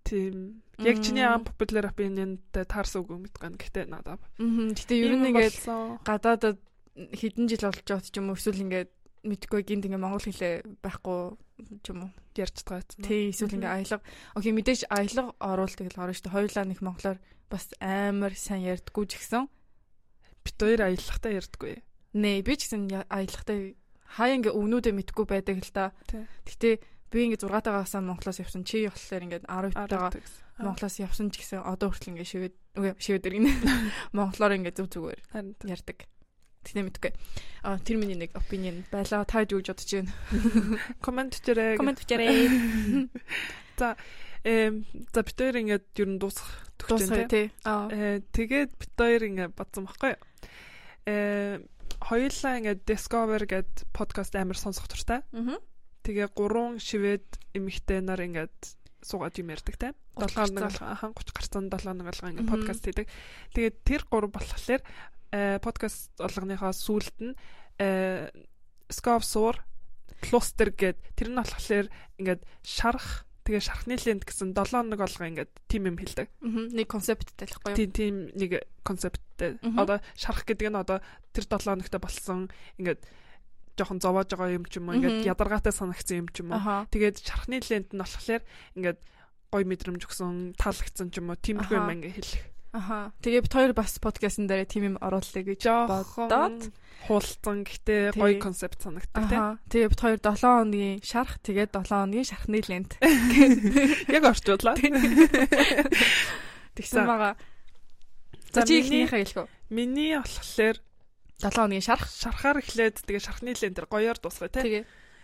тийм яг чиний
Мм.
ам popular opinion-тэй таарсан үг юм гэдгээр гэхдээ надад
Мгм. Гэтэ ер нь ингээд
болсон.
гадаадад хэдэн жил болж байгаа ч юм уу эсвэл ингээд мэдгүй гинт ингээд монгол хэлээ байхгүй ч юм уу.
ярьж байгаа юм.
Тий эсвэл
Мгм.
ингээд аялга. Окей мэдээж аялга оруулдаг л орно шүү дээ. Хоёулаа нэг монголоор бас амар сайн ярьдггүй ч гэсэн.
Бид хоёр аялахтаа ярьдаггүй.
Нэ би ч гэсэн я- аялахтай хаяа ингээ өвнүүдэ мэдгүй байдаг л та.
Тий.
Гэтэ би ингээ 6 тагаас монголоос явсан чи болохоор ингээ 12 тагаа
Аргадаг.
монголоос явсан ч гэсэн одоо хүртэл ингээ шивэд үгүй шивэд иргэн монголоор ингээ зүг зүгээр
Харин тий.
ярьдаг. Тэгнэ мэдгүй. А тэр миний нэг opinion байлаа та юу гэж бодож байна?
коммент хийрээ.
Коммент бичээрэй.
Эм за бид хоёр ингээд ер нь дуусах
Дуусгая
төгтөн
тий.
тий.
Аа.
Э тэгээд бид хоёр ингээд бодсон баггүй. Э хоёулаа ингээд Discover гэд подкаст амар сонсох туртай.
Мгм.
Тэгээ гурван шивэд эмэгтэй нар ингээд суугаад юм ярьдаг те. 7
30
хоног
гарцаа.
алга ахан 30 гарцаан 7 хоног алга ингээд
Мгм.
подкаст хийдэг. Тэгээ тэр гурав болохоор э подкаст олгоныхоо сүүлд нь э Scope суур клустер гэд тэр нь болохоор ингээд шарах тэгээ шархны лент гэсэн 7 хоног алга ингээд тим юм хэлдэг.
Мгм. Нэг концепттэй л байхгүй юу?
Тийм тийм нэг концепттэй.
Мгм.
Одоо шарах гэдэг нь одоо тэр 7 хоногт болсон ингээд жоохон зовоож байгаа юм ч юм уу ингээд
Мгм.
ядаргаатай санагцсан юм ч юм уу.
Аха.
Тэгээд шархны лент нь болохоор ингээд гой мэдрэмж өгсөн, таалагдсан ч юм уу тиймэрхүү юм
Аха.
ингээ хэлэх.
Аха. Тэгээ бид хоёр бас подкастн дээр тийм юм оруулъя гэж бодоод
Жохон хуулцсан
Тий.
гэхдээ гой концепт санагддаг тийм.
Аха. Тэгээ бид хоёр 7 хоногийн шарах, тэгээд 7 хоногийн шархны лент
Яг орчууллаа.
тэгсэн
За.
байгаа. За
За
чи
миний
ихнийхээ хэлэх үү?
миний болохоор
7 хоногийн шарах.
шархаар эхлээд тэгээ шархны лентэр гоёор дуусгая тийм.
Тэгээ.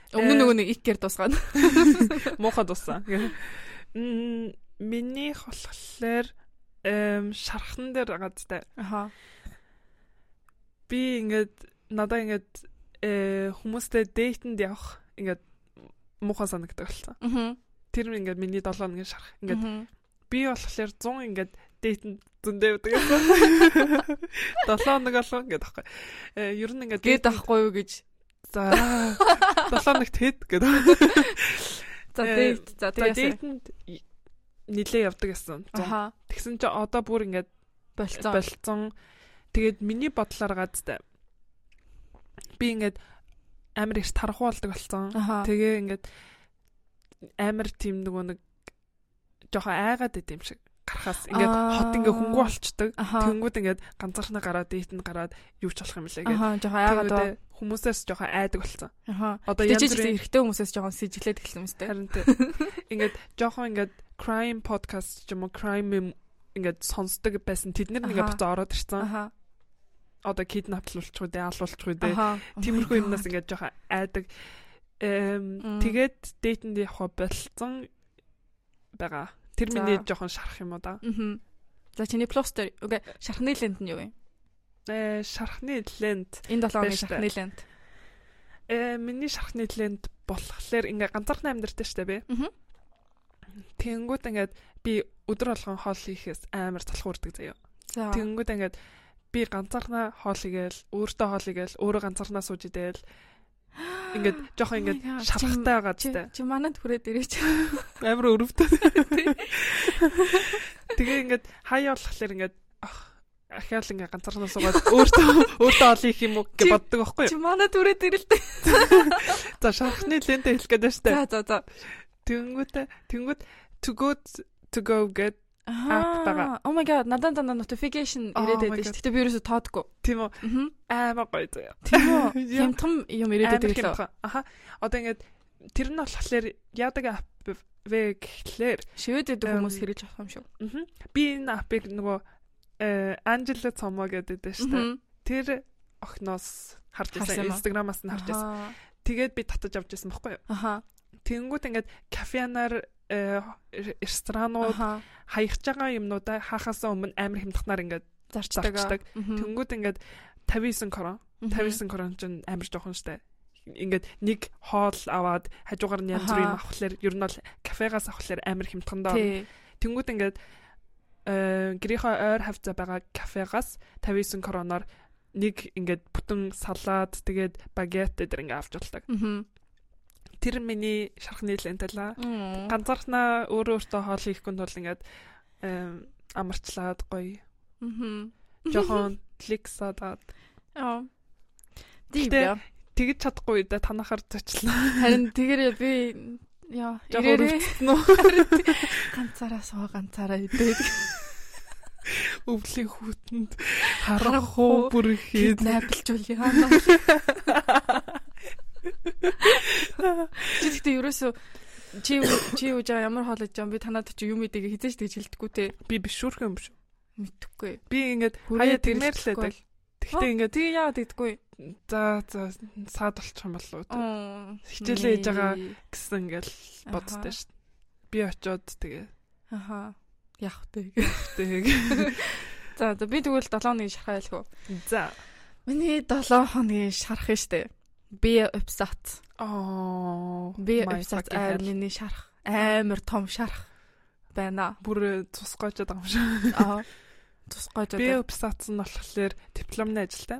Э,
Өмнө нь нөгөө нэг их гэр дуусгаад.
Муухай дууссан. Мм, Минийх болохоор эм шархан дээр гадтай.
Аха.
Би ингээд надаа ингээд э хүмүүстэй дейтэнд явах ингээд муухай санагддаг болсон.
Мгм.
Тэр нь ингээд миний 7 хоногийн шарх. Ингээд
Мгм.
би болохоор 100 ингээд дейтэнд зөндөө явдаг. 7 хоног болгоо ингээд аахгүй. Э ер нь ингээд
Гээд авахгүй юу гэж.
за 7 хоногт хэд гэдэг.
За
Э,
дээд. За
За
тэгээд.
дейтэнд нилээ явдаг гэсэн. 100.
Аха.
Тэгсэн чи одоо бүр ингээд
Болцсон.
болцсон. Тэгээд миний бодлоор гадтай. Би ингээд амар их тархуу болдог болсон.
Аха.
Тэгээ ингээд амар тийм нөгөө нэг жоохон айгаад байт юм шиг гарахаас ингээд
Аа.
хот ингээ хөнгөө болчдөг.
Аха.
Тэнгүүд ингээд ганцаархнаа гараад дээтэнд гараад юу ч болох юм лээ гэх.
Аха, жоохон айгаад байна.
Хүмүүсээс жоохон айдаг болсон.
Аха.
Одоо
Тэ
янз
чи ч гэсэн
бүрийн
эрэгтэй хүмүүсээс жоохон сэжиглээд эхэлсэн юм шүү дээ.
харин тэ. Ингээд жоохон ингээд crime podcast ч юм уу crime юм ингээд сонсдог байсан. Тэднэр нэгэ
Аха.
буцаа ороод ирсэн.
Аха.
одоо киднаплуулчих үү, алуулчих үү,
Аха.
тиймэрхүү юмнаас ингээд жоохон айдаг.
Мм.
Эм тэгээд дээтэнд явах болцсон байгаа. Тэр
За.
миний жоохон шарах юм уу да.
Мгм. За чиний плюс дээр үгүй шархны лент нь юу вэ?
Э шархны лент.
Энэ 7 оны
Баяр
шархны лент.
Э миний шархны лент болохоор ингээ ганцаархан амьдртай штэ би.
Мгм.
Тэнгүүд ингээд би өдөр болгон хоол хийхээс амар залхуу урддаг заяа.
За.
Тэнгүүд ингээд би ганцаархнаа хоол игээл, өөртөө хоол игээл, өөрөө ганцаархнаа сууж идэл Ингээд жоохон ингээд
Oh my God.
шалхахтай байгаа ч
Чи
тээ.
чи манад хүрээд ирээч.
Амар өрөвдөв. Тэгээ ингээд хаяа болохлээр ингээд ах, ахиал ингээд ганцаархнаа суугаад өөртөө өөртөө олон их юм уу гэж
Чи-
боддог байхгүй юу?
Чи манад хүрээд ирэлтэй.
За шалхахны лентэ хэлэх гэдэг штэ.
За за за.
Тэнгүүтэ тэнгүүт to go to go get App байгаа.
Аа, Oh my god, надад дандаа notification
Oh
ирээд
my
байдаг
God.
шүү. Гэтэ би ерөөсө тоодгүй.
тийм үү
Аа.
амар гоё заяа.
Тийм үү?
Яа.
Хямдхан юм ирээд
Амар
байдаг лөө.
хэмтэх. Аха. Одоо ингээд тэр нь болохоор яадаг app вэ гэхлээр
Шивээд байдаг хүмүүс
Эм.
хэрэгж авах юм шүү.
мгм, би энэ app-ыг нөгөө э, Анжела Цомо гэдэг дээ штэ.
Мгм.
тэр охноос харж
Харсан юм
байсан.
аа.
Instagram-аас нь харж байсан.
Аха.
Тэгээд би татаж авч байсан байхгүй юу?
Аха.
Тэнгүүт ингээд кафенаар э, ресторанууд
Аха.
хаягч байгаа юмнуудаа хаахаасаа өмнө амар хэмтхнаар ингээд
Зарчдаг. аа.
Зарчдаг.
Мгм.
тэнгүүт ингээд 59 крон,
Мгм.
59 крон чинь амар жоохон штэ. Ингээд нэг хоол аваад хажуугаар нь янз
Аха.
бүрийн авахлаар ер нь бол кафегаас авахлаар амар хэмтхандаа. орно.
Тий.
Тэнгүүд ингээд э, гэрийнхөө ойр хавцаа байгаа кафегаас 59 короноор нэг ингээд бүтэн салаад тэгээд багет дээр ингээд авч болдог.
Мгм.
Тэр миний шархны лентэлаа.
Мм.
Ганцаархнаа өөрөө өөртөө хоол хийхгүй нь бол ингээд э, амарчлаад гоё.
Мгм.
Жохон лексадаад
Оо. Див
Гэтэ-
яа.
тэгж чадахгүй да танахаар зочлаа.
Харин тэгэрээ би яа
Жохоо
ирээрээ
Нөө
ганцаараа суу ганцаараа идээд
өвлийн хүүтэнд харахгүй бүр
гээд
хийд.
найдалжуул яана. Чи гэхдээ ерөөсөө чи юу- чи юу жаа ямар хоол иж байгаа юм? би танаад чи юм идэг хизээч тэгж хэлдэггүй те
Би бишүүрх юм биш.
мэдхгүй.
Би ингээд хаяа тэрмээр л байдаг. Тэгтээ ингээд
Тэгээ яагаад гэдэггүй.
За за саад болчих юм болов уу Хичээлээ хийж байгаа гэсэн ингээл боддоо шүү дээ. Би очиод тэгээ
Аха. Яг тэг.
тэг.
За за би тэгвэл 7 хоногийн шархаа ялхав.
За.
Миний 7 хоногийн шарах нь штэ. Би вебсайт.
Оо.
Би
my
вебсайт
fucking
аир
hell.
миний шарах. Амар том шарах байна.
бүр цусгааж байгаа юм шиг.
Аа. Тусгой
Би
жоо.
вебсайтс нь болохоор дипломны ажилтай.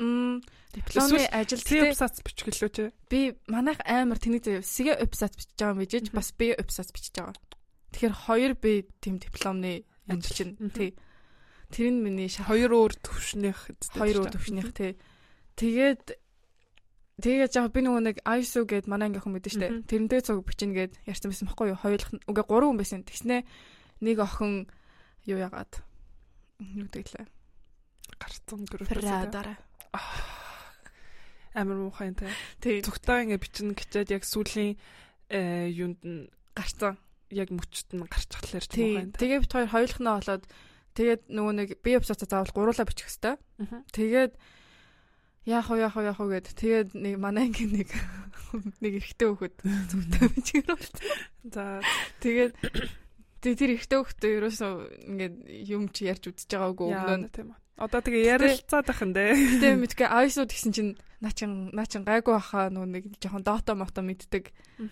Мм. Дипломны
Эсвэл
ажил
Тэ
дээр
вебсайтс бичих гэлөө чи.
би манайх амар тэний зав. Сэгэ вебсайт бичиж байгаа юм бижиж
Мгм.
бас би вебсайт бичиж байгаа. Тэгэхээр хоёр би тэм дипломны ажил
Ажил.
чинь
Мгм.
тий. Тэр нь миний шарах.
Хоёр өөр төвшнийх эзтэй
хоёр өдөр
гэж
төвшнийх тий. Тэгээд тэгээд яг би нөгөө нэг ISO гээд манай анги охин мэдэн штэ.
Мгм.
Тэрнтэй цуг бичнэ гээд ярьсан байсан байхгүй юу? Хоёулах нь үгүй гурван хүн байсан. Тэгснэ нэг охин юу ягаад юу дэглээ.
гарцсан гөрөөс
Прадара.
амар муухай энэ.
Тий.
Цугтаа ингэ бичнэ гэчээд яг сүүлийн э, юунд нь
Гарцсан.
яг мөчт нь гарчхалаар ч муухай
Тий.
энэ.
Тэгээд бид хоёр хоёулах нь болоод тэгээд нөгөө нэг би вебсайтаа заавал гуруулаа бичих хэвээр.
Мгм.
Тэгээд яах вэ яах вэ яах вэ гээд тэгээд нэг манай анги нэг нэг эрэгтэй хөхөд зүгтээ бичгээр бол
За
Тэгээд тэ- тэр ихтэй хөхтэй ерөөсөө ингээд юм чи ярьж үтж байгаагүй
Яа,
өмнө. нь.
нэ, тийм үү. Одоо тэгээ ярилцаад ахын дээ.
Гэтэ мэдгүй айсууд гэсэн чинь начин начин гайгүй баха нүү нэг жоохон дата мото мэддэг.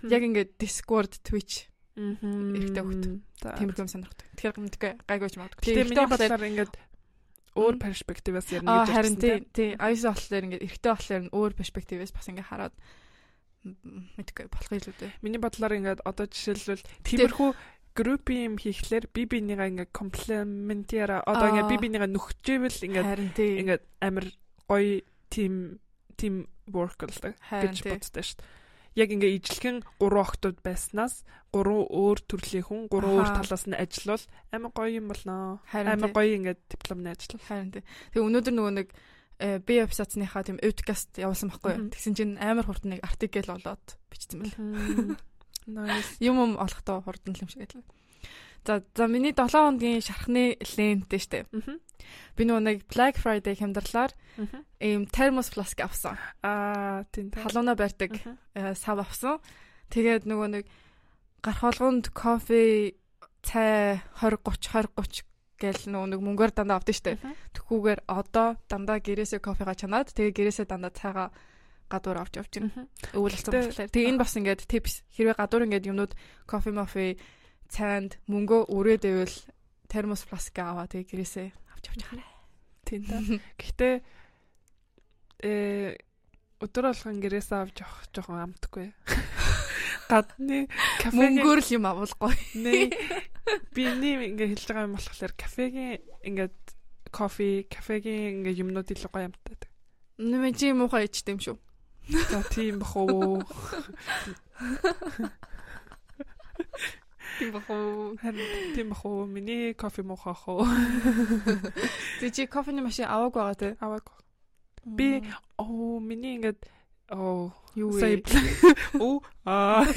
Яг ингээд Discord, Twitch
ихтэй
хөхт.
Тийм.
тиймэрхүү юм сонирхдаг. Тэгэхээр мэдгүй гайгүйч магадгүй.
Тэгээ миний
болохоор-
бодлоор ингээд өөр
Мгм.
перспективээс ярина
Аа
гэж
харин тий
тийм.
тий айсуу болохоор ингээд ихтэй болохоор нь өөр перспективээс бас ингээд хараад м, мэдгүй болох илүү дээ.
Миний бодлоор ингээд одоо жишээлбэл тиймэрхүү группийн юм хийхлээр би бинийгаа ингээд комплиментера одоо ингээд
Аа.
би бинийгаа нөхчөөл ингээд
Харин тий
ингээд амар гоё тим тим work болдог
харин
гэж
тий.
боддоо шүү дээ. Яг ингээ ижилхэн 3 октод байснаас 3 өөр төрлийн хүн 3 өөр
Аха.
талаас нь ажиллавал амар гоё юм болно.
Харин тий.
Амар гоё ингээд дипломны ажил.
Харин тий. Тэгээ өнөөдөр нөгөө нэг э, би вебсайтныхаа тийм эвдкаст явуулсан байхгүй юу?
Мгм.
Тэгсэн чинь амар хурдан нэг артикл олоод бичсэн мэл.
Nice.
Юм юм олохдоо хурдан л юм шиг байлаа. За за миний 7 хоногийн шархны ленттэй штэ.
Мгм.
Би нөгөө нэг Black Friday хямдрлаар
Мгм.
ийм термос фласк авсан.
Аа, тийм тийм.
Халууна барьдаг
Мгм.
э, сав авсан. Тэгээд нөгөө нэг гарах болгонд кофе цай 20 30 20 30 гэл нөгөө нэг мөнгөөр дандаа авдаг штэ.
Мгм.
Тэхүүгээр одоо дандаа гэрээсээ кофега чанаад тэгээ гэрээсээ дандаа цайгаа гадуур авч явж байна.
Мгм.
Өвөл болсон
Гэтэ-
болохоор. Тэгээ энэ бас ингээд типс хэрвээ гадуур ингээд юмнууд кофе мофе цайнд мөнгөө өрөөд ивэл термос фласк аваа тэгээ гэрээсээ авч явж хараа.
Тийм тийм. Гэхдээ э өдөр болгон гэрээсээ авч явах жоохон амтгүй. Гадны кафегийн
Мөнгөөр л юм авуулгүй.
Нэ. Би нэг ингээ хэлж байгаа юм болохоор кафегийн ингээд кофе, кафегийн ингээ юмнууд илүү гоё амттай.
Нэмэ чи муухай ичтэй юм шүү.
За тийм бахуу.
Тийм баху.
Харин тийм бахуу. Миний кофе мохох уу?
Тэг чи кофений машин аваагүй байгаа тий.
Аваг. Би оо миний ингээд оо
юу
сая
вэ?
оо аа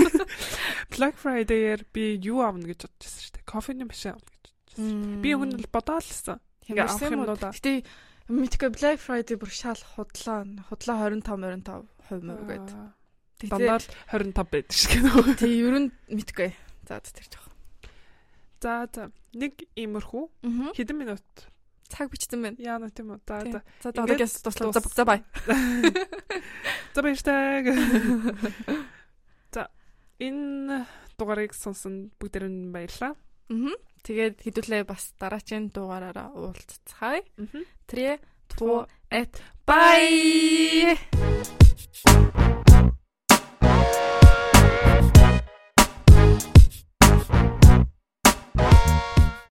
Black Friday-ээр би юу авна гэж бодож байсан шүү дээ. Кофений машин авна гэж. Би өгнө л бодоол лсэн. ингээ авах юмнуудаа.
Гэтэ мэдгүй Black Friday бүр шал худлаа худлаа 25 25% мөр гэдэг.
Дандаа л 25 байдаг шиг нөө.
Тэг ер нь мэдгүй. За тэр жоох.
За за. Нэг иймэрхүү
Аа.
хэдэн минут
Цаг бичсэн байна.
яана тийм үү? За за.
За одоо
Ингээд
гээс туслаа. За
дуус.
за бай.
За баяртай. За энэ дугаарыг сонсон бүгдээр нь баярлалаа.
Аа. Тэгээд хэдүүлээ бас дараагийн дугаараараа уулзцай.
Мгм.
3 2 1 bye